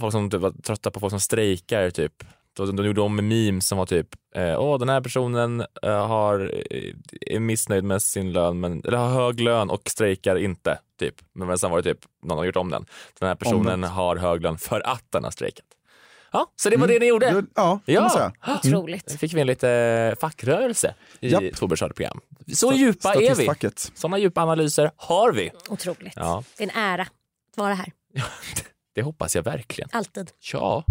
S2: folk som typ var trötta på folk som strejkar typ. Då, då, gjorde de memes som var typ, eh, åh den här personen eh, har, eh, är missnöjd med sin lön, men, eller har hög lön och strejkar inte. Typ. Men sen var det typ, någon har gjort om den. Den här personen
S6: Omvänt.
S2: har hög lön för att den har strejkat. Ja, så det var det ni gjorde?
S6: Mm.
S2: Ah,
S6: Ja, kan man säga. Mm.
S2: Mm.
S5: Otroligt.
S2: Då fick vi en lite eh, fackrörelse i
S6: Japp.
S2: Torbjörns radioprogram. Så djupa är vi.
S6: Statistfacket.
S2: Sådana djupa analyser har vi.
S5: Otroligt.
S2: Ja,
S5: Det är en ära att vara här.
S2: det hoppas jag verkligen.
S5: Alltid.
S2: Ja.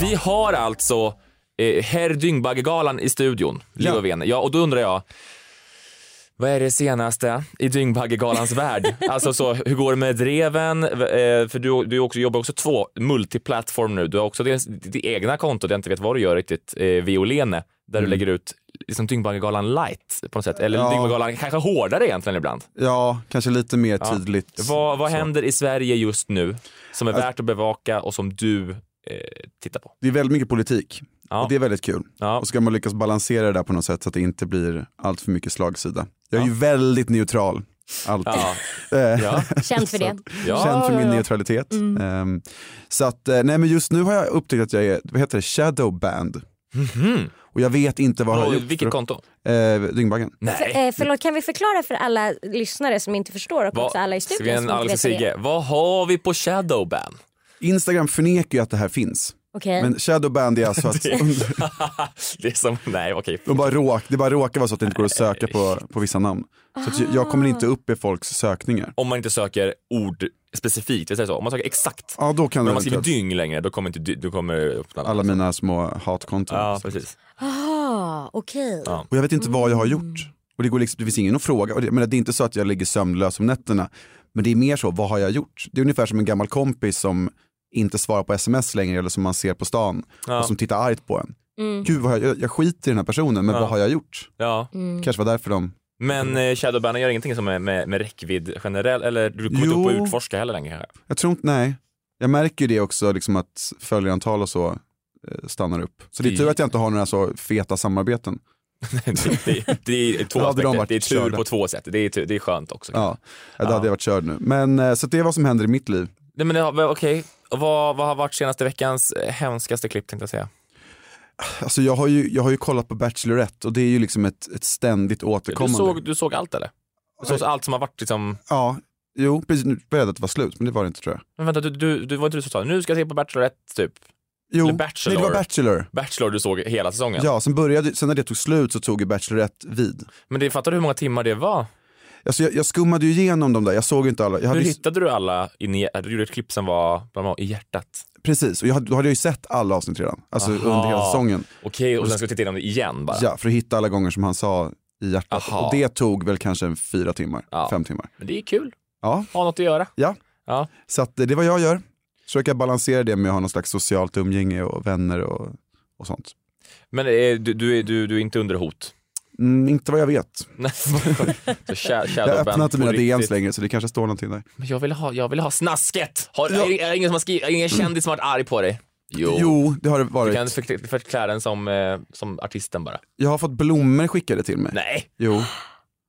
S2: Vi har alltså eh, Herr Dyngbaggegalan i studion, Löfven. Ja. och då undrar jag, vad är det senaste i Dyngbaggegalans värld? Alltså så, hur går det med dreven? Eh, för du, du också, jobbar också två multiplattform nu. Du har också ditt, ditt egna konto, där jag inte vet vad du gör riktigt, eh, Violene, där du lägger ut liksom Dyngbaggegalan light på något sätt. Eller
S6: Ja.
S2: Dyngbaggegalan kanske hårdare egentligen ibland.
S6: Ja, kanske lite mer
S2: Ja.
S6: tydligt.
S2: Vad, vad
S6: Så.
S2: händer i Sverige just nu som är
S6: Alltså-
S2: värt att bevaka och som du eh, tittar på?
S6: Det är väldigt mycket politik.
S2: Ja.
S6: Och det är väldigt kul.
S2: Ja.
S6: Och ska man lyckas balansera det där på något sätt så att det inte blir allt för mycket slagsida. Jag är ju väldigt neutral. Alltid.
S2: Ja.
S6: Eh,
S2: Ja.
S5: Känd för
S6: så
S5: det.
S6: att-
S2: Ja,
S6: Känd för
S2: ja,
S6: min
S2: ja.
S6: neutralitet. Ehm, så att, eh, nej men just nu har jag upptäckt att jag är, vad heter det, shadowband. Och jag vet inte vad jag har
S2: Och
S6: gjort.
S2: Mhm. vilket konto?
S6: Eh, Dyngbaggen.
S2: Nej.
S5: Alltså, Eh, förlåt, kan vi förklara för alla lyssnare som inte förstår och
S2: Vad-
S5: också alla i
S2: ska
S5: studion
S2: vi
S5: som
S2: en
S5: inte
S2: Alex och
S5: vet vad det
S2: Sigge?
S5: är?
S2: Vad har vi på Shadowban?
S6: Instagram förnekar ju att det här finns.
S5: Okej.
S6: Men shadowband är alltså att
S2: det är som, nej okej.
S6: De bara råk, det bara råkar vara så att det inte går att söka på, på vissa namn. Så att jag- jag kommer inte upp i folks sökningar.
S2: Om man inte söker ord specifikt, jag säger så. om man söker exakt.
S6: Ja, då kan
S2: Men
S6: det
S2: om man skriver
S6: eventuellt-
S2: dyng längre, då kommer inte dy- då kommer det upp något
S6: alla
S2: annat.
S6: mina små hatkonton.
S2: Ja, precis.
S5: Ah, okej.
S6: Och jag vet inte vad jag har gjort. Och det, går liksom, det finns ingen att fråga. Och det, men det är inte så att jag ligger sömnlös om nätterna. Men det är mer så, vad har jag gjort? Det är ungefär som en gammal kompis som inte svarar på sms längre eller som man ser på stan
S2: Ja.
S6: och som tittar argt på en. Gud, vad har jag, jag skiter i den här personen, men
S2: Ja.
S6: vad har jag gjort?
S2: Ja.
S5: Mm.
S6: Kanske var därför de...
S2: Men eh, Shadowban gör ingenting som är med, med räckvidd generellt, eller du kommer
S6: Jo.
S2: inte upp och utforska heller längre. kanske?
S6: Jag tror inte, nej. Jag märker ju det också, liksom att följarantal och så eh, stannar upp. Så det är tur att jag inte har några så feta samarbeten.
S2: det, det, det är två
S6: Då hade
S2: aspekter.
S6: de varit
S2: Det är tur
S6: körda.
S2: på två sätt. Det är, tur, det är skönt också.
S6: Ja, då
S2: Ja.
S6: hade jag varit körd nu. Men, eh, så det är vad som händer i mitt liv.
S2: Nej, men, det har- men okej, Och vad, vad har varit senaste veckans eh, hemskaste klipp tänkte jag säga?
S6: Alltså jag har ju, jag har ju kollat på Bachelorette och det är ju liksom ett, ett ständigt
S2: Du
S6: återkommande.
S2: såg, du såg allt eller?
S6: Alltså-
S2: Du såg allt som har varit liksom,
S6: Ja, jo, precis, nu började det vara slut, men det var det inte tror jag.
S2: men vänta, du, du, du var inte du som sa nu ska jag se på Bachelorette typ?
S6: Jo,
S2: Eller Bachelor.
S6: nej det var Bachelor.
S2: Bachelor du såg hela säsongen?
S6: Ja, sen, började, sen när det tog slut så tog ju Bachelorette vid.
S2: Men det, fattar du hur många timmar det var?
S6: Alltså jag, jag skummade ju igenom dem där, jag såg ju inte alla. Jag
S2: Hur
S6: hade ju,
S2: hittade du alla? In i, du gjorde ett klipp som var bland annat, i hjärtat.
S6: precis, och jag, hade- då hade jag ju sett alla avsnitt redan, alltså
S2: Aha.
S6: under hela säsongen.
S2: Okej, och sen ska vi titta igenom det igen bara?
S6: Ja, för att hitta alla gånger som han sa i hjärtat.
S2: Aha.
S6: Och det tog väl kanske en fyra timmar,
S2: Ja.
S6: fem timmar.
S2: Men det är kul,
S6: Ja,
S2: ha något att göra.
S6: ja.
S2: Ja.
S6: Så att eh, det är vad jag gör. Försöka balansera det med att ha någon slags socialt umgänge och vänner och, och sånt.
S2: Men eh, du, du, är- du, du är inte under hot?
S6: Mm, inte vad jag vet.
S2: Nej, så kä-
S6: Jag
S2: Shadowban
S6: öppnar inte
S2: på
S6: mina DMs
S2: riktigt.
S6: längre så det kanske står någonting där.
S2: Men jag vill ha, jag vill ha snasket! Har, är, det- är det ingen, som har skrivit, är det ingen kändis som har varit arg på dig? Mm. Jo.
S6: Jo, det har det
S2: Du
S6: varit.
S2: kan förkl- förklä den som, eh, som artisten bara.
S6: Jag har fått blommor skickade till mig.
S2: Nej!
S6: Jo.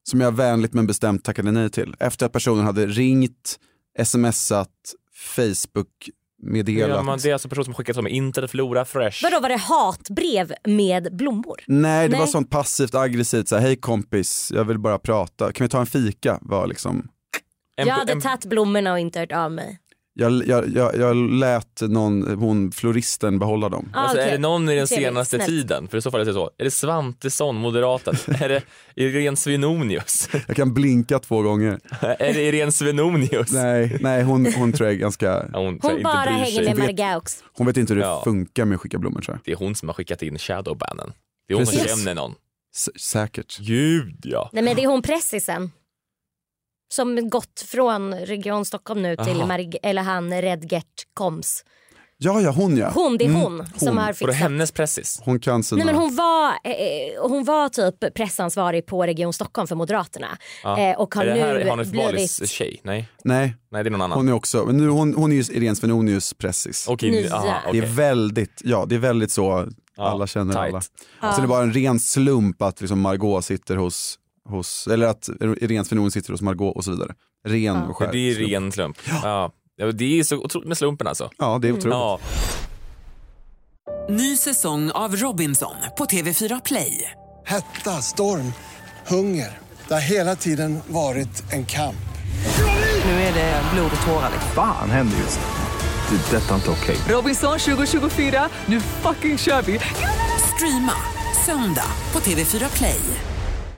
S6: Som jag vänligt men bestämt tackade nej till. Efter att personen hade ringt, smsat,
S2: Gör
S6: Facebook-meddelat.
S2: man, det är alltså en person som skickat som internet förlora fresh.
S5: Vadå, var det hatbrev med blommor?
S6: Nej, det var
S5: Nej.
S6: sånt passivt aggressivt. Så här, Hej kompis, jag vill bara prata. Kan vi ta en fika? Var liksom.
S2: En,
S5: jag hade
S2: en,
S5: tagit blommorna och inte hört av mig.
S6: jag, jag, jag, jag lät någon, hon, floristen behålla dem.
S5: Ah,
S2: alltså,
S5: okej.
S2: Är det någon i den
S5: Trevligt,
S2: senaste
S5: snällt.
S2: tiden, för i så fall är det så, är det Svantesson, moderaten? är det Irene Svenonius?
S6: Jag kan blinka två gånger.
S2: är det Irene Svenonius?
S6: Nej, nej hon, hon tror jag är ganska...
S2: Ja, Hon, tror jag
S5: Hon
S2: inte
S5: bara
S2: bryr
S5: hänger
S2: sig.
S5: med
S6: Vet-
S5: Margaux.
S6: Hon vet inte hur det
S2: Ja.
S6: funkar med att skicka blommor tror jag.
S2: Det är hon som har skickat in shadowbannen. Det är hon som
S6: Precis.
S2: känner någon.
S6: S- säkert.
S2: Gud ja.
S5: Nej men det är hon pressisen. Som gått från Region Stockholm nu till
S2: Aha.
S5: Marg- eller han Redgert Koms.
S6: Ja, ja, hon ja.
S5: Hon, det är
S6: Mm,
S5: hon, som har
S2: Var det
S5: fixat.
S2: hennes pressis?
S6: Hon kan sina...
S5: Nej, men hon, var, eh, eh, hon var typ pressansvarig på Region Stockholm för Moderaterna. Eh, och har
S2: är det här
S5: nu
S2: Hanif Balis
S5: blivit
S2: tjej? Nej.
S6: Nej,
S2: Nej, det är någon annan.
S6: hon är också... Men nu, hon, hon är ju Irene Svenonius pressis.
S2: Okej,
S5: Nya.
S2: aha,
S6: Det
S2: okej.
S6: är väldigt, ja det är väldigt så
S2: Ja,
S6: alla känner
S2: tight.
S6: alla. Sen är det bara en ren slump att liksom Margot sitter hos, hos eller att Irene Svenonius sitter hos Margot och så vidare. Ren och skär.
S2: Det är
S6: slump.
S2: ren slump. Ja. Ja, det är så otroligt med slumpen alltså.
S6: Ja, det är otroligt.
S2: Ja.
S7: Ny säsong av Robinson på TV4 Play.
S8: Hetta, storm, hunger. Det har hela tiden varit en kamp.
S7: Nu är det blod och tårar.
S9: Fan händer just det. Det är detta inte okej.
S7: Robinson 2024, nu fucking kör vi! Streama söndag på TV4 Play.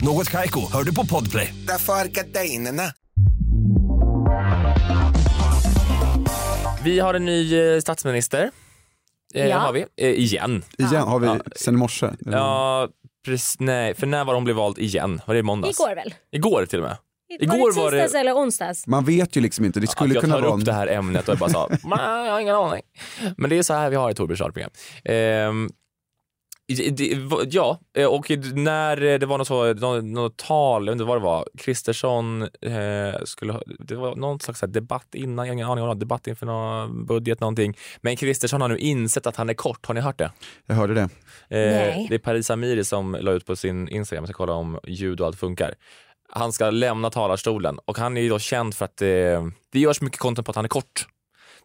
S11: Något Kaiko, hör du på podplay.
S12: Därför är gardinerna.
S2: Vi har en ny eh, statsminister. Eh,
S12: Ja.
S2: Har vi. Eh, igen.
S6: Igen, har vi sen i morse? eller? Mm.
S2: Ja, precis, nej, för när var hon blev vald igen? Var det i måndags?
S5: Igår väl?
S2: Igår till och med.
S5: var det tisdags eller onsdags?
S6: Man vet ju liksom inte, det
S2: att
S6: skulle
S2: jag
S6: kunna
S2: tar
S6: vara...
S2: upp det här ämnet och jag bara sa, "Nej, jag har ingen aning. Men det är så här vi har ett Torbjörns radioprogram. Ehm, det- det var- Ja, eh, och när eh, det var något, så, något, något tal, jag vet inte vad det var, Kristersson eh, skulle ha, det var någon slags så här debatt innan, jag har ingen aning om det, debatt inför någon budget någonting. Men Kristersson har nu insett att han är kort, har ni hört det?
S6: Jag hörde det.
S2: Eh,
S6: Nej.
S2: det är Paris Amiri som la ut på sin Instagram, jag ska kolla om ljud och allt funkar. Han ska lämna talarstolen och han är ju då känd för att eh, det görs mycket content på att han är kort.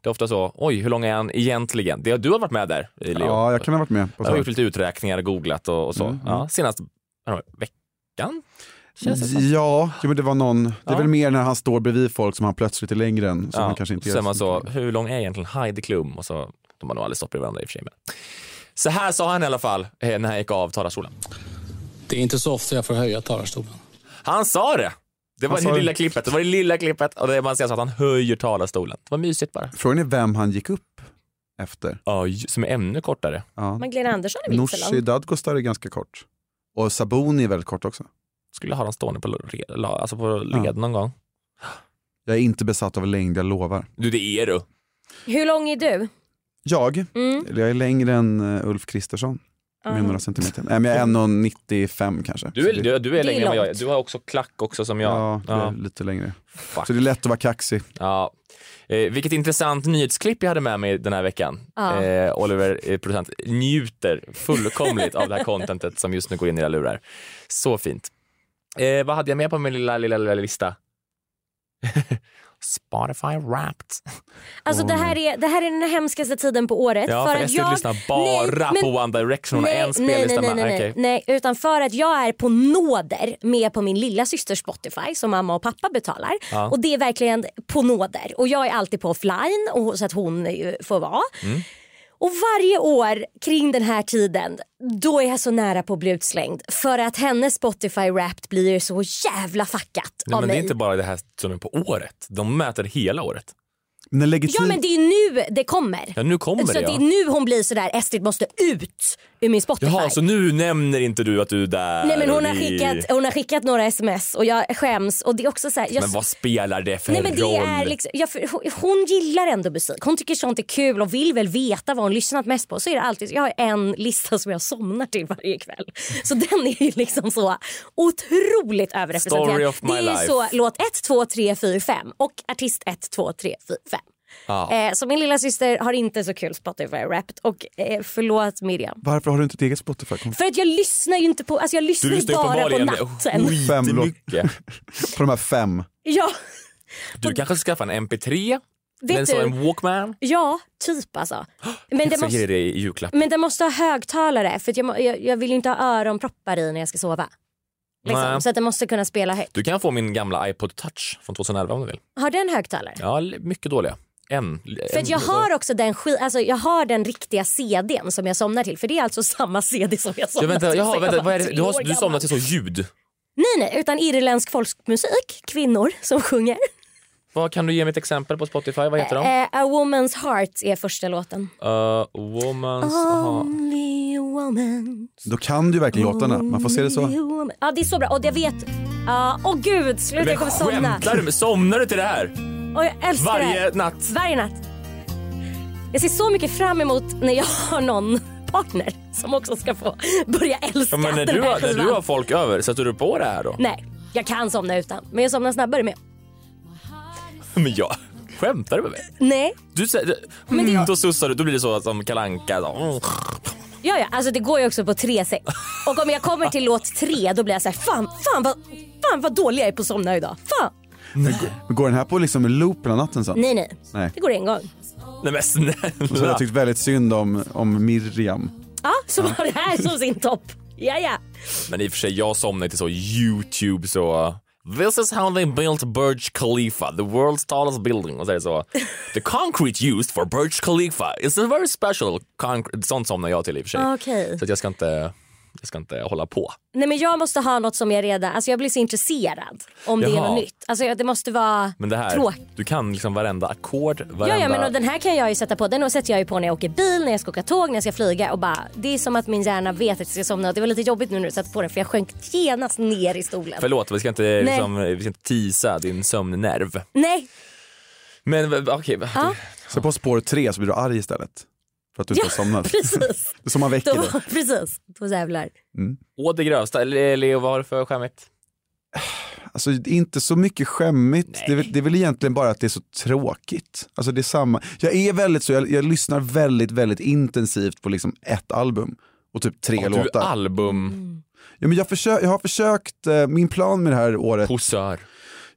S2: Det är ofta så, oj hur lång är han egentligen? Det, du har varit med där eh, Leo.
S6: Ja, jag kan ha varit med. På
S2: Jag har gjort lite uträkningar och googlat och, och så.
S6: Mm,
S2: Ja,
S6: mm.
S2: senast ja, veckan? Känns det som.
S6: Ja, jo, men det var någon, det
S2: Ja.
S6: är väl mer när han står bredvid folk som han plötsligt är längre än, som
S2: Ja,
S6: han kanske inte
S2: så är
S6: gör.
S2: man så, hur lång är egentligen Heidi Klum? Och så, de har nog aldrig stått bredvid varandra i och för sig. Men. Så här sa han i alla fall eh, när han gick av talarstolen.
S13: Det är inte så ofta jag får höja talarstolen.
S2: Han sa det! Det var
S13: Han sa
S2: det
S13: det.
S2: lilla klippet. Det var det lilla klippet. Och det man ser så att han höjer talarstolen. Det var mysigt bara.
S6: Frågan är vem han gick upp efter.
S2: Ja, ju- som är ännu kortare.
S6: Ja.
S5: Magdalena Andersson är väl inte så
S6: Nooshi
S5: lång?
S6: Dadgostar är ganska kort. Och Sabuni är väldigt kort också.
S2: Skulle ha dem stående på, led- la- alltså på led någon gång.
S6: Jag är inte besatt av längd, jag lovar.
S2: Du, det är du.
S5: Hur lång är du?
S6: Jag,
S5: Mm.
S6: eller jag är längre än eh, Ulf Kristersson. Med
S5: Aha.
S6: några centimeter. Nej, men jag är 1,95 kanske.
S2: Du är,
S6: Så det-
S2: du, du är
S5: Det är
S2: längre än vad jag är.
S5: långt.
S2: Du har också klack också som jag.
S6: Ja, det är
S2: ja.
S6: lite längre.
S2: Fuck.
S6: Så det är lätt att vara kaxig.
S2: Ja. Eh, vilket intressant nyhetsklipp jag hade med mig den här veckan.
S6: Ja.
S2: Eh, Oliver, eh, producent, njuter fullkomligt av det här contentet som just nu går in i era lurar. Så fint. Eh, vad hade jag med på min lilla, lilla, lilla lista? Spotify Wrapped.
S5: Alltså det här, är, det här är den hemskaste tiden på året.
S2: Ja, för, jag sitter och lyssnar bara
S5: Nej, men-
S2: på One Direction och har en
S5: nej,
S2: spellista
S5: nej,
S2: med.
S5: nej, nej,
S2: Okej.
S5: nej, nej, utan för att jag är på nåder med på min lilla systers Spotify som mamma och pappa betalar.
S10: Ja.
S5: Och det är verkligen på nåder. Och jag är alltid på offline och, så att hon eh, får vara.
S2: Mm.
S5: Och varje år kring den här tiden då är jag så nära på att bli utslängd för att hennes Spotify Wrapped blir så jävla fuckat
S2: Nej, men
S5: av
S2: det
S5: mig.
S2: är inte bara det här som är på året. De mäter hela året.
S6: Men
S5: Ja men det är nu det kommer.
S2: Ja, nu kommer
S5: så
S2: det,
S5: att det
S2: ja.
S5: är nu hon blir sådär Estrid måste ut ur min Spotify.
S2: Jaha, så nu nämner inte du att du är där?
S5: Nej men hon
S2: och
S5: har,
S2: vi-
S5: skickat, hon har skickat några sms och jag skäms och det är också så här, jag,
S2: Men vad spelar det för
S5: Nej, men det
S2: roll?
S5: är liksom, jag, för, hon- hon gillar ändå musik. Hon tycker sånt är kul och vill väl veta vad hon lyssnat mest på. Så är det alltid, jag har en lista som jag somnar till varje kväll. Så den är ju liksom så otroligt överrepresenterad.
S2: Story of my
S5: det är
S2: life.
S5: så låt 1, 2, 3, 4, 5 och artist 1, 2, 3, 4, 5.
S6: Ja.
S5: Eh, så min lilla syster har inte så kul Spotify Wrapped och eh, förlåt Miriam.
S6: Varför har du inte ett eget Spotify?
S5: För att jag lyssnar ju inte på, alltså jag lyssnar,
S6: Du lyssnar ju
S5: bara på
S6: uppenbarligen
S5: natten.
S6: Fem låt.
S2: mycket.
S6: på de här fem.
S5: Ja,
S2: Du kanske ska skaffa en MP3?
S5: Vet
S2: men så
S5: du-
S2: en Walkman?
S5: ja, typ alltså. Men det
S2: Jag ska
S5: måste...
S2: ge dig det i julklapp.
S5: Men den måste ha högtalare för att jag, må- jag, jag vill ju inte ha öronproppar i när jag ska sova. Liksom.
S2: Nej.
S5: Så att den måste kunna spela högt.
S2: Du kan få min gamla iPod touch från 2011 om du vill.
S5: Har den högtalare?
S2: Ja, l- mycket dåliga. En.
S5: För att jag har också den, ski- alltså, jag har den riktiga CDn som jag somnar till. För det är alltså samma CD som jag
S2: Jag
S5: somnar
S2: väntar,
S5: till.
S2: jaha,
S5: sen jag
S2: vänta,
S5: var
S2: vad är det?
S5: tre
S2: Du,
S5: år
S2: har, du
S5: gammal.
S2: somnar till så ljud.
S5: Nej, nej, utan irländsk folkmusik. Kvinnor som sjunger.
S2: Vad Kan du ge mig ett exempel på Spotify? Vad heter de?
S5: Eh, A Woman's Heart är första låten.
S2: Uh, woman's... aha.
S5: Only a woman.
S6: Då kan du ju verkligen låtarna. Man får se det
S5: only a
S6: så.
S5: woman. Ja, det är så bra. Och jag vet... Ja, Åh gud, sluta jag
S2: Men
S5: kommer somna.
S2: skämtar du? med- Somnar du till det här?
S5: Och jag älskar
S2: Varje
S5: det.
S2: natt.
S5: Varje natt. Jag ser så mycket fram emot när jag har någon partner som också ska få börja älska
S2: Ja, men när
S5: den
S2: du,
S5: här
S2: har, när
S5: skivan.
S2: du har folk över, sätter du på det här då?
S5: Nej, jag kan somna utan. Men jag somnar snabbare med.
S2: Men jag, Skämtar du med mig?
S5: Nej.
S2: Du, säger-
S5: Men det-
S2: mm, då sussar du, då blir det så att som Kalle Anka. så-
S5: Ja, ja, alltså det går ju också på tre sätt. Och om jag kommer till låt tre då blir jag så här, fan, fan vad, fan vad dålig jag är på att somna idag. Fan.
S6: Men, men går den här på liksom loop hela natten sen?
S5: Nej, nej,
S6: Nej.
S5: Det går en gång.
S2: Nej men
S6: Så jag har
S2: snälla.
S6: tyckt väldigt synd om, om Miriam.
S5: Ja, så var det här som sin topp. Ja, ja.
S2: Men i och för sig, jag somnade till så YouTube så... uh, This is how they built Burj Khalifa, the world's tallest building. Och så är det så. The concrete used for Burj Khalifa is a very special concrete. Sånt somnar jag till i och för sig.
S5: Ah, Okej.
S2: Så att jag ska inte, jag ska inte hålla på.
S5: Nej men jag måste ha något som jag redan, alltså jag blir så intresserad om det är
S2: Jaha.
S5: något nytt. Alltså jag- det måste vara
S2: Men det här,
S5: tråkigt.
S2: du kan liksom varenda ackord, varenda...
S5: Ja, ja men och den här kan jag ju sätta på, den sätter jag ju på när jag åker bil, när jag ska åka tåg, när jag ska flyga och bara det är som att min hjärna vet att jag ska somna och det var lite jobbigt nu när du satte på den för jag sjönk genast ner i stolen.
S2: Förlåt, vi ska inte, liksom, vi ska inte tisa din sömnnerv.
S5: Nej,
S2: Men v- okej, va-
S5: ja,
S6: Så på spår tre så blir du arg istället. För att du inte
S5: Ja,
S6: har somnat.
S5: precis.
S6: Som man väcker
S5: då,
S6: dig.
S5: precis. Då jävlar.
S2: å det grövsta. Eller, Leo, vad har du för skämmigt?
S6: Alltså det är inte så mycket skämmigt, det är, väl- det är väl egentligen bara att det är så tråkigt. Alltså det är samma. Jag är väldigt så, jag, jag lyssnar väldigt, väldigt intensivt på liksom ett album och typ tre
S2: Ja, du är
S6: låtar.
S2: album.
S6: Ja, men jag, försö- jag har försökt, eh, min plan med det här året.
S2: Posör.
S6: Mm.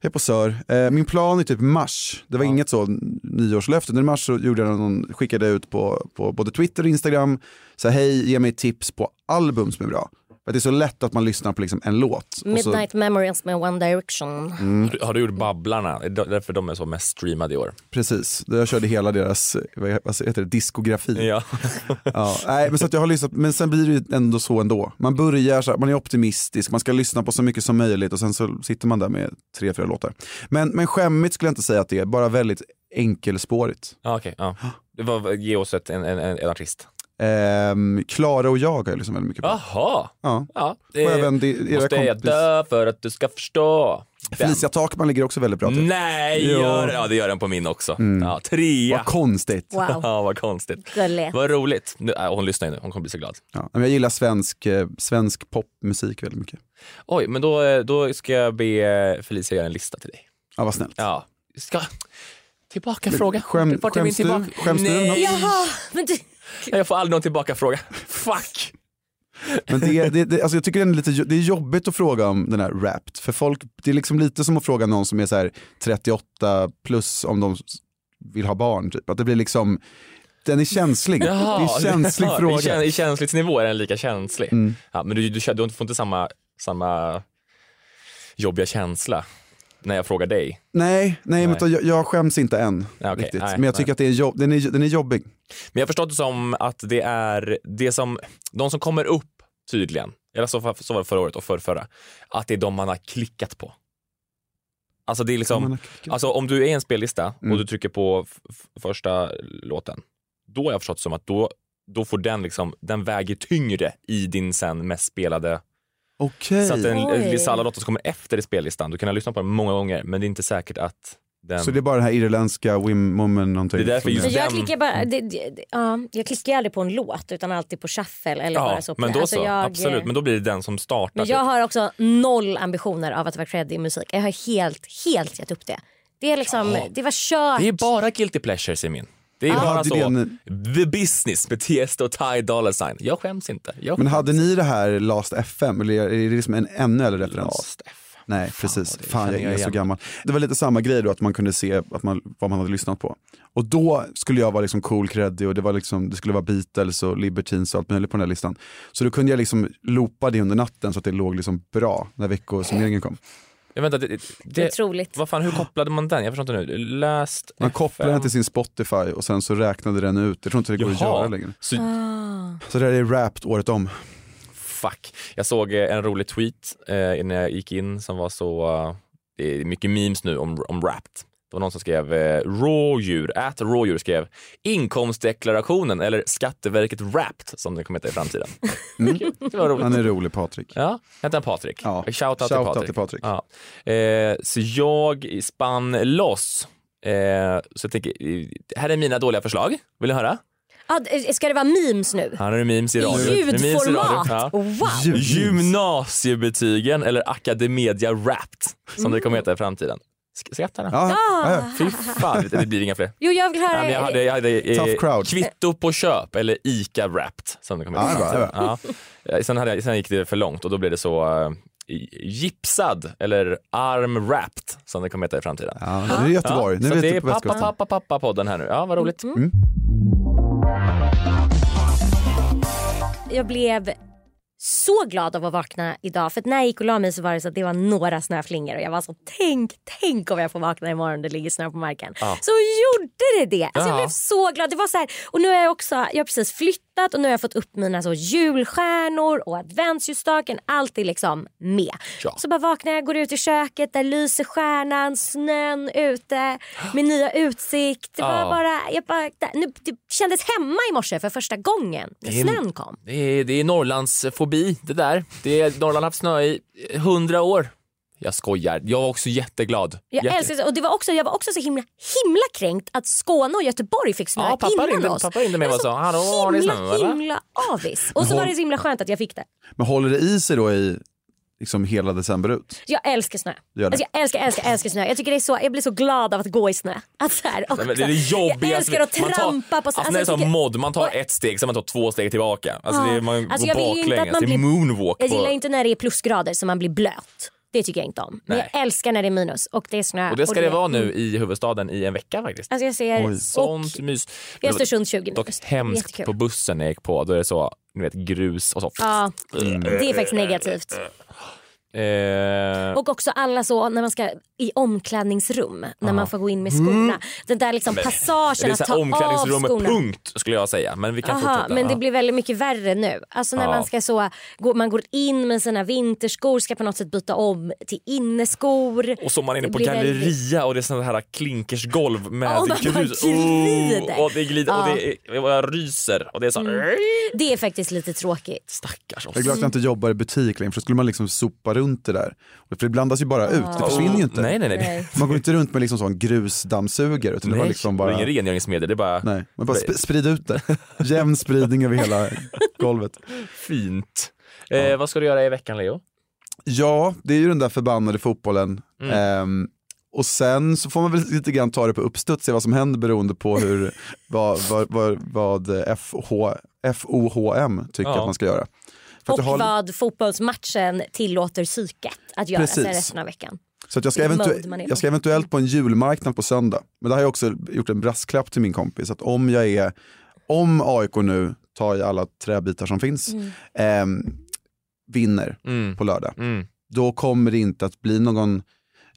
S6: Jag är posör. Eh, min plan är typ mars, det var inget så n- nyårslöfte, men i mars så gjorde jag någon, skickade jag ut på, på både Twitter och Instagram, så här, hej ge mig tips på album som är bra. För att det är så lätt att man lyssnar på liksom en låt. och så-
S5: Midnight Memories med One Direction.
S6: Mm.
S2: Har, du, har du gjort Babblarna? Det är därför de är så mest streamade i år.
S6: Precis, jag körde hela deras eh, vad vad heter det, diskografi.
S2: Ja.
S6: Ja, nej, men, så att jag har lyssnat, men sen blir det ju ändå så ändå. Man börjar så här, man är optimistisk, man ska lyssna på så mycket som möjligt och sen så sitter man där med tre, fyra låtar. Men, men skämmigt skulle jag inte säga att det är, bara väldigt enkelspårigt.
S2: Ja, okej. ja. Det var, ge oss ett, en, en, en en artist.
S6: Ehm, Klara och jag har jag lyssnat väldigt mycket på.
S2: Jaha.
S6: Ja.
S2: Ja,
S6: Och även det- era
S2: måste jag
S6: kompis-
S2: dö för att du ska förstå. Den.
S6: Felicia Takman ligger också väldigt bra till.
S2: Nej,
S6: Jo. Mm.
S2: gör, ja, det gör den på min också. Ja, trea.
S6: Vad konstigt.
S5: Wow.
S2: ja, vad konstigt.
S5: Gulligt.
S2: Vad roligt. Nu, äh, hon lyssnar ju nu, hon kommer bli så glad.
S6: Ja, men jag gillar svensk, eh, svensk popmusik väldigt mycket.
S2: Oj, men då, eh, då ska jag be eh, Felicia göra en lista till dig.
S6: Ja, vad snällt.
S2: Ja. Ska... Tillbaka fråga.
S6: skäm-
S2: Vart är min
S6: skäms du?
S2: tillbaka-
S6: Skäms du
S2: Nej.
S6: något?
S5: Jaha, men du,
S2: Nej, Jag får aldrig någon tillbaka fråga. Fuck!
S6: Men det, det, det, alltså jag tycker det är, lite, jo- det är jobbigt att fråga om den här Wrapped, för folk, det är liksom lite som att fråga någon som är så här 38 plus om de s- vill ha barn, typ. att det blir liksom, den är känslig, det är en känslig
S2: jaha,
S6: fråga.
S2: I, käns- i känslighetsnivå är den lika känslig.
S6: Mm.
S2: Ja, men du, du, känner- du får inte samma, samma jobbiga känsla när jag frågar dig.
S6: Nej, nej,
S2: Nej.
S6: men utan jag, jag skäms inte än
S2: Ja, okej.
S6: riktigt,
S2: Nej,
S6: men jag
S2: nej.
S6: tycker att det är jobb, den, är, den är jobbig.
S2: Men jag har förstått det som att det är det som, de som kommer upp tydligen, eller så, så var det förra året och förra, förra, att det är de man har klickat på. Alltså det är
S6: Man har
S2: liksom,
S6: klickat.
S2: alltså om du är i en spellista
S6: Mm.
S2: och du trycker på f- f- första låten, då har jag förstått det som att då, då får den liksom, den väger tyngre i din sen mest spelade
S6: Okej,
S2: Så att en,
S5: Oj.
S2: vissa alla låtar som kommer efter i spellistan, du kan ha lyssnat på den många gånger men det är inte säkert att den...
S6: så det är bara den här irländska Wim Woman någonting.
S2: Det är därför
S6: som
S2: just
S5: men jag
S2: den-
S5: klickar bara, det, det, det- ja, jag klickar ju aldrig på en låt utan alltid på shuffle eller
S2: ja,
S5: bara så.
S2: men då
S5: Alltså,
S2: så,
S5: jag-
S2: absolut. Men då blir det den som startar.
S5: Men jag
S2: typ.
S5: har också noll ambitioner av att vara cred i musik. Jag har helt, helt gett upp det. Det är liksom,
S2: Ja.
S5: det var kört.
S2: Det är bara guilty pleasures i min. Det är
S6: Ja,
S2: bara
S6: det är
S2: så.
S6: den-
S2: The business med Tiesto och Ty Dolla Sign. Jag skäms inte. Jag
S6: Men
S2: skäms.
S6: hade ni det här Last FM, eller är det liksom en ännu äldre referens?
S2: Last FM.
S6: Nej, precis.
S2: vad det
S6: Fan,
S2: känner
S6: jag
S2: jag
S6: är så
S2: igen.
S6: gammal. Det var lite samma grej då, att man kunde se att man, vad man hade lyssnat på. Och då skulle jag vara liksom cool, creddig och det, var liksom, det skulle vara Beatles och Libertines och allt möjligt på den här listan. Så då kunde jag liksom loopa det under natten så att det låg liksom bra när veckosummeringen kom.
S2: Jag väntar, det, det,
S5: Otroligt.
S2: Vad fan, hur kopplade man den? Jag förstår inte nu. Last
S6: Man kopplade den
S2: FM.
S6: till sin Spotify och sen så räknade den ut. Jag tror inte det går att
S2: Jaha.
S6: göra längre.
S2: Så
S6: Så det här är wrapped året om.
S2: Fuck. Jag såg eh, en rolig tweet eh, när jag gick in som var så... eh, det är mycket memes nu om, om Wrapped. Det var någon som skrev eh, rådjur, ät rådjur skrev inkomstdeklarationen eller Skatteverket Wrapped som det kommer heta i framtiden. det var roligt.
S6: Han är rolig Patrik.
S2: Ja, hette han Patrik?
S6: Ja.
S2: Shout out till
S6: Shoutout
S2: Patrik.
S6: till Patrik.
S2: Ja. Eh, så jag spann loss. Eh, så jag tänker, eh, här är mina dåliga förslag. Vill du höra?
S5: Ah, d- ska det vara memes nu?
S2: Han har memes i
S5: I
S2: radio. Memes i radio.
S5: ljudformat?
S2: Ja.
S5: Wow!
S6: Ljud.
S2: Gymnasiebetygen eller Academedia Wrapped som det kommer heta i framtiden. Sk- Skrattar
S5: Ja. Ja.
S2: Fy fan, vet du, det blir inga fler.
S5: Jo, jag vill höra...
S2: Nej, men jag hade, jag hade eh,
S6: Tough crowd.
S2: kvitto på köp eller ICA wrapped. Som det kommer
S6: Ah,
S2: att heta.
S6: det var bra.
S2: Ja. Eh, Sen, hade jag, sen gick det för långt och då blev det så eh, gipsad eller arm wrapped som det kommer att heta i framtiden.
S6: Ja, nu är det Göteborg. Nu
S2: så
S6: vet
S2: det
S6: du
S2: är
S6: på
S2: pappa,
S6: västkusten.
S2: pappa, pappa podden här nu. Ja, vad roligt.
S5: Jag blev så glad av att vakna idag. För att när jag gick och la mig så var det så att det var några snöflingor. Och jag var så tänk, tänk om jag får vakna imorgon det ligger snö på marken.
S10: Ja.
S5: Så gjorde det det. Alltså jag
S10: Ja.
S5: blev så glad. Det var så här, och nu har jag också, jag har precis flyttat och nu har jag fått upp mina så julstjärnor och adventsljusstaken. Allt är liksom med. Så bara vaknar jag, går ut i köket, där lyser stjärnan, snön ute, min nya utsikt. Det var
S2: Ja.
S5: bara, jag bara, nu, det kändes hemma i morse för första gången när
S2: Det är-
S5: snön kom.
S2: Det är, det är Norrlands fobi det där. Det är, Norrland har haft snö i hundra år. Jag skojar. Jag var också jätteglad.
S5: Jag
S2: Jätte-
S5: älskar och det var också, jag var också så himla, himla kränkt att Skåne och Göteborg fick snö
S2: Ja, pappa
S5: innan
S2: ringde,
S5: oss.
S2: pappa ringde mig och sa hallå har ni snö
S5: Himla,
S2: eller?
S5: himla avis. Och så var det så himla skönt att jag fick det.
S6: Men håller det i sig då i liksom hela december ut?
S5: Jag älskar snö.
S6: Du gör det.
S5: Alltså jag älskar, älskar, älskar snö. Jag tycker det är så, jag blir så glad av att gå i snö. Att så här, också.
S2: Nej, men det är det jobbigaste.
S5: Jag älskar att
S2: Man tar-
S5: trampa på
S2: Alltså,
S5: snö.
S2: när det är
S5: jag
S2: som
S5: tycker-
S2: mod, man tar ett steg, sen man tar två steg tillbaka. Alltså, det är, man går
S5: Alltså, jag vill ju inte att
S2: baklänges.
S5: man
S2: Det är
S5: blir-
S2: moonwalk.
S5: Jag gillar
S2: på-
S5: inte när det är plusgrader så man blir blöt. Det tycker jag inte om. Men
S2: Nej.
S5: jag älskar när det är minus och det är snö.
S2: Och det ska det vara nu i huvudstaden i en vecka faktiskt.
S5: Mm. Alltså jag ser...
S2: Sånt mys.
S5: I Östersund 20
S2: Dock
S5: minus.
S2: hemskt
S5: Jättekul.
S2: på bussen när jag gick på, då är det så, ni vet grus och så. Mm.
S5: Ja, det är faktiskt negativt.
S2: Eh,
S5: Och också alla så när man ska i omklädningsrum, när
S2: Ja.
S5: man får gå in med skorna. Den där liksom
S2: Mm. men-
S5: passagen
S2: det
S5: att
S2: är
S5: ta
S2: så här
S5: av
S2: omklädningsrummet,
S5: skorna.
S2: punkt skulle jag säga. Men vi kan
S5: Aha,
S2: fortsätta.
S5: men det
S2: Ja.
S5: blir väldigt mycket värre nu. Alltså när
S2: Ja.
S5: man ska så, gå, man går in med sina vinterskor, ska på något sätt byta om till inneskor.
S2: Och så man är inne
S5: Det
S2: på
S5: blir
S2: galleria
S5: väldigt-
S2: och det är sådana här klinkersgolv med
S5: Åh, man bara
S2: grus.
S5: glider.
S2: Oh, och det glider och
S5: Ja.
S2: det är, och jag ryser och det är så
S5: Mm. Det är faktiskt lite tråkigt.
S2: Stackars
S6: Jag är glad att jag inte jobbar i butik längre för då skulle man liksom sopa runt det där. Och För det blandas ju bara ut, det
S2: Ah.
S6: försvinner ju inte.
S2: Nej, nej, nej. Nej.
S6: Man går inte runt med liksom sån grusdammsugare utan det var
S2: Nej,
S6: liksom
S2: Det är
S6: bara,
S2: ingen rengöringsmedel, det är bara...
S6: nej, man bara sp- sprid ut det. Jämn spridning över hela golvet.
S2: Fint. Eh, Vad ska du göra i veckan Leo?
S6: Ja, det är ju den där förbannade fotbollen.
S2: Mm.
S6: Ehm, och sen så får man väl lite grann ta det på uppstuds, se vad som händer beroende på hur, vad, vad, vad, vad FH, FOHM tycker
S5: Ja.
S6: att man ska göra. För att
S5: Eh, Och
S6: jag har-
S5: vad fotbollsmatchen tillåter psyket att göra sen
S6: Precis.
S5: resten av veckan.
S6: Så att jag, ska
S5: Det är
S6: eventu-
S5: mode man är
S6: jag ska
S5: på.
S6: eventuellt på en julmarknad på söndag. Men det har jag också gjort en brasklapp till min kompis. Att om jag är, om AIK nu tar i alla träbitar som finns,
S14: Mm.
S6: ehm, vinner
S2: Mm,
S6: på lördag, då kommer det inte att bli någon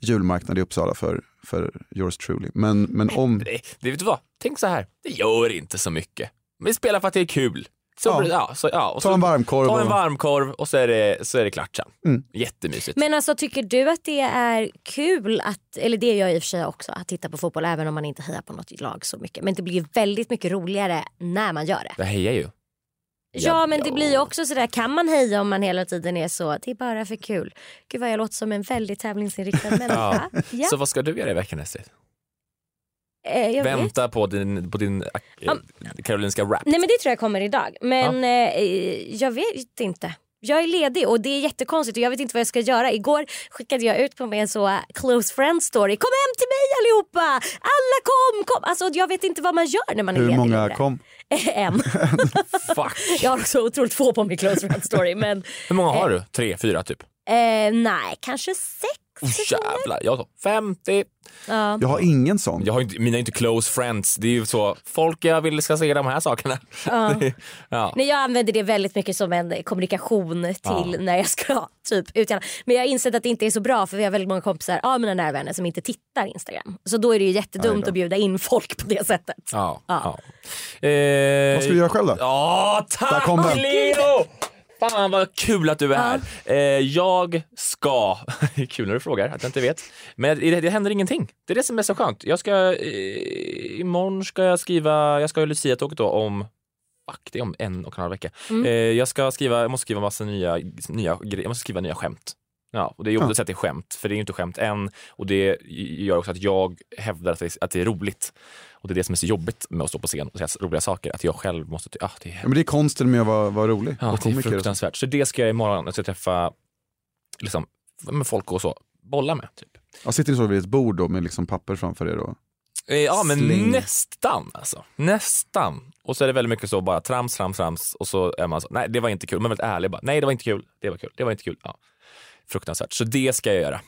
S6: julmarknad i Uppsala för, för yours truly. Men, men om...
S2: Nej, det vet du vad? Tänk så här, det gör inte så mycket. Vi spelar för att det är kul. Så,
S6: Ja.
S2: ja. så, ja, och
S6: Ta
S2: så,
S6: en varmkorv
S2: Ta en
S6: och-
S2: varmkorv och så är det, så är det klart sen.
S6: Mm.
S2: Jättemysigt.
S5: Men alltså tycker du att det är kul att, eller det gör jag i och för sig också, att titta på fotboll även om man inte hejar på något lag så mycket. Men det blir ju väldigt mycket roligare när man gör det.
S2: Jag hejar ju.
S5: Ja men det blir ju också sådär, kan man heja om man hela tiden är så, det är bara för kul. Gud vad jag låter som en väldigt tävlingsinriktad människa.
S2: Ja.
S5: Ja.
S2: Så vad ska du göra i veckan Estrid?
S5: Eh, jag vet.
S2: Vänta på din, på din ak- eh,
S5: Om-
S2: Karolinska rap.
S5: Nej men det tror jag kommer idag. Men eh, jag vet inte. Jag är ledig och det är jättekonstigt och jag vet inte vad jag ska göra. Igår skickade jag ut på mig en så close friend story. Kom hem till mig allihopa! Alla kom! kom! Alltså jag vet inte vad man gör när man är
S6: Hur
S5: ledig.
S6: många
S5: längre.
S6: kom?
S5: en.
S2: Fuck.
S5: Jag har också otroligt få på min close friend story. Men,
S2: Hur många har du? Tre, fyra typ?
S5: eh, nej, kanske sex.
S2: Oh, jävlar, jag har 50.
S5: Ja.
S6: Jag har ingen sån.
S2: Jag har inte, mina är inte close friends. Det är ju så, folk jag vill ska se de här sakerna.
S5: Ja.
S2: Det är- ja.
S5: Nej, jag använder det väldigt mycket som en kommunikation till
S2: Ja.
S5: när jag ska typ ut. gärna. Men jag har insett att det inte är så bra för vi har väldigt många kompisar av mina nära vänner som inte tittar Instagram. Så då är det ju
S2: Aj
S5: jättedumt
S2: då.
S5: att bjuda in folk på det sättet.
S2: Ja.
S5: Ja.
S2: Eh,
S6: Vad ska du göra själv då?
S2: Ja,
S6: Där
S2: tack
S6: kom den.
S2: Leo! Fan vad kul att du är här. Eh, jag ska, kul när du frågar att jag inte vet, men det, det händer ingenting. Det är det som är så skönt. Jag ska, eh, imorgon ska jag skriva, jag ska ha Lucia-tåget då om Fuck, det är om en och en halv vecka.
S11: Mm.
S2: Eh, jag ska skriva, jag måste skriva massa nya, nya grejer, jag måste skriva nya skämt. Ja, och det är jobbigt
S11: Ja.
S2: att säga att det är skämt, för det är ju inte skämt än. Och det gör också att jag hävdar att det, att det är roligt. Och det är det som är så jobbigt med att stå på scen och säga roliga saker, att jag själv måste... ty- Ah, det är
S6: Ja, men det är konsten med att vara, vara rolig.
S2: Ja, det
S6: och
S2: är
S6: komiker och så.
S2: fruktansvärt. Så det ska jag imorgon, jag ska träffa liksom, men folk och så, bolla med. Typ.
S6: Ja, sitter ni så vid ett bord då med liksom papper framför er? Då?
S2: Eh, Ja, men
S6: Sling.
S2: nästan alltså. Nästan. Och så är det väldigt mycket så bara trams, trams, trams och så är man så, nej det var inte kul. Man är väldigt ärlig bara, nej det var inte kul, det var kul, det var inte kul. Ja. Fruktansvärt. Så det ska jag göra.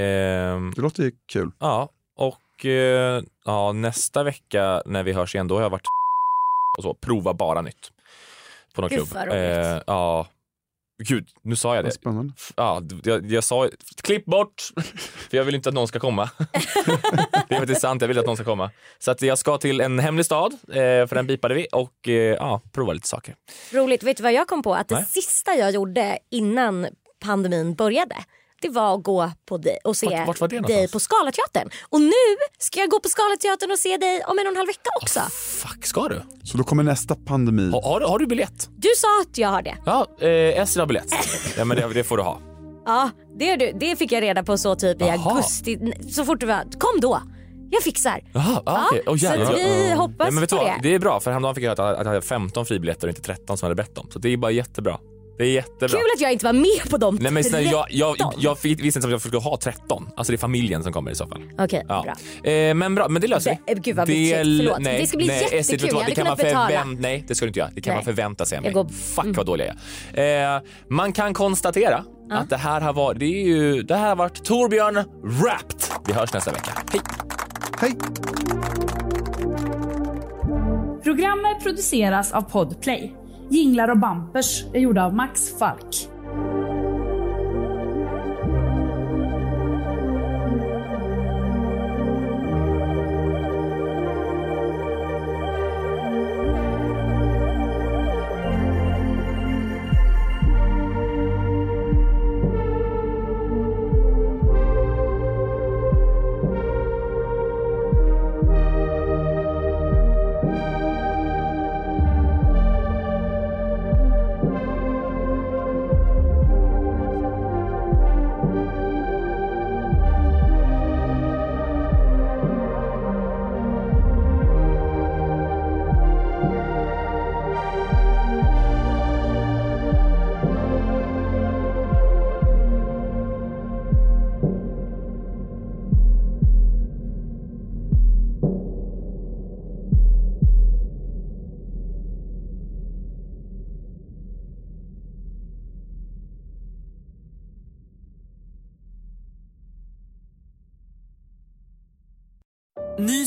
S2: Ehm,
S6: Det låter ju kul.
S2: ja, och eh, ja, nästa vecka när vi hörs igen då har jag varit och så, prova bara nytt. På någon
S5: Gud,
S2: klubb.
S5: vad roligt.
S2: Eh, ja. Gud, nu sa jag det.
S6: Spännande.
S2: Ja, d- jag, jag sa klipp bort, för jag vill inte att någon ska komma. det är faktiskt sant, jag vill att någon ska komma. Så att jag ska till en hemlig stad, eh, för den bipade vi, och eh, ja, prova lite saker.
S5: Roligt. Vet du vad jag kom på? Att det
S2: Nej.
S5: sista jag gjorde innan pandemin började det var att gå på dig och se
S2: Vart- vart var det
S5: dig
S2: någonstans?
S5: på Scalateatern. Och nu ska jag gå på Scalateatern och se dig om en och en halv vecka också.
S2: Fuck, ska du?
S6: Så då kommer nästa pandemi.
S2: Har, har, du- har du biljett?
S5: Du sa att jag har det.
S2: Ja, eh, Essie har biljett. ja, men det, det får du ha.
S5: Ja, det, är du. det fick jag reda på så typ i augusti. Så fort du var... Kom då! Jag fixar.
S2: Jaha,
S5: Ja,
S2: ah, okej. Åh,
S5: så att
S2: jävlar.
S5: vi
S2: Ja.
S5: hoppas
S2: Nej, men vet du
S5: på
S2: vad?
S5: det.
S2: Det är bra, för häromdagen fick jag höra att jag- att jag hade 15 fribiljetter och inte 13 som jag hade bett om. Så det är bara jättebra. Det är jättebra.
S5: Kul att jag inte var med på dem
S2: Nej, men snälla, jag, jag, jag,
S5: 13.
S2: fick- visste inte att jag skulle ha 13. Alltså det är familjen som kommer i så fall.
S5: Okej,
S2: Ja.
S5: bra.
S2: Eh, men bra, men det löser vi.
S5: Det- eh, gud, vad bitchigt. Förlåt. Det ska bli jättekul.
S2: Essie, vet du
S5: Jag
S2: vad?
S5: hade
S2: Det kan man
S5: kunnat betala.
S2: förvänt- Nej, det ska du inte göra. Det kan
S5: Nej.
S2: man förvänta sig av mig.
S5: Jag går- mm.
S2: Fuck vad dålig jag är. Eh, man kan konstatera
S5: Ja.
S2: att det här har varit, det är ju, det här har varit Torbjörn Wrapped. Vi hörs nästa vecka. Hej!
S10: Programmet produceras av Podplay. Jinglar och bampers är gjorda av Max Falk.
S7: Ny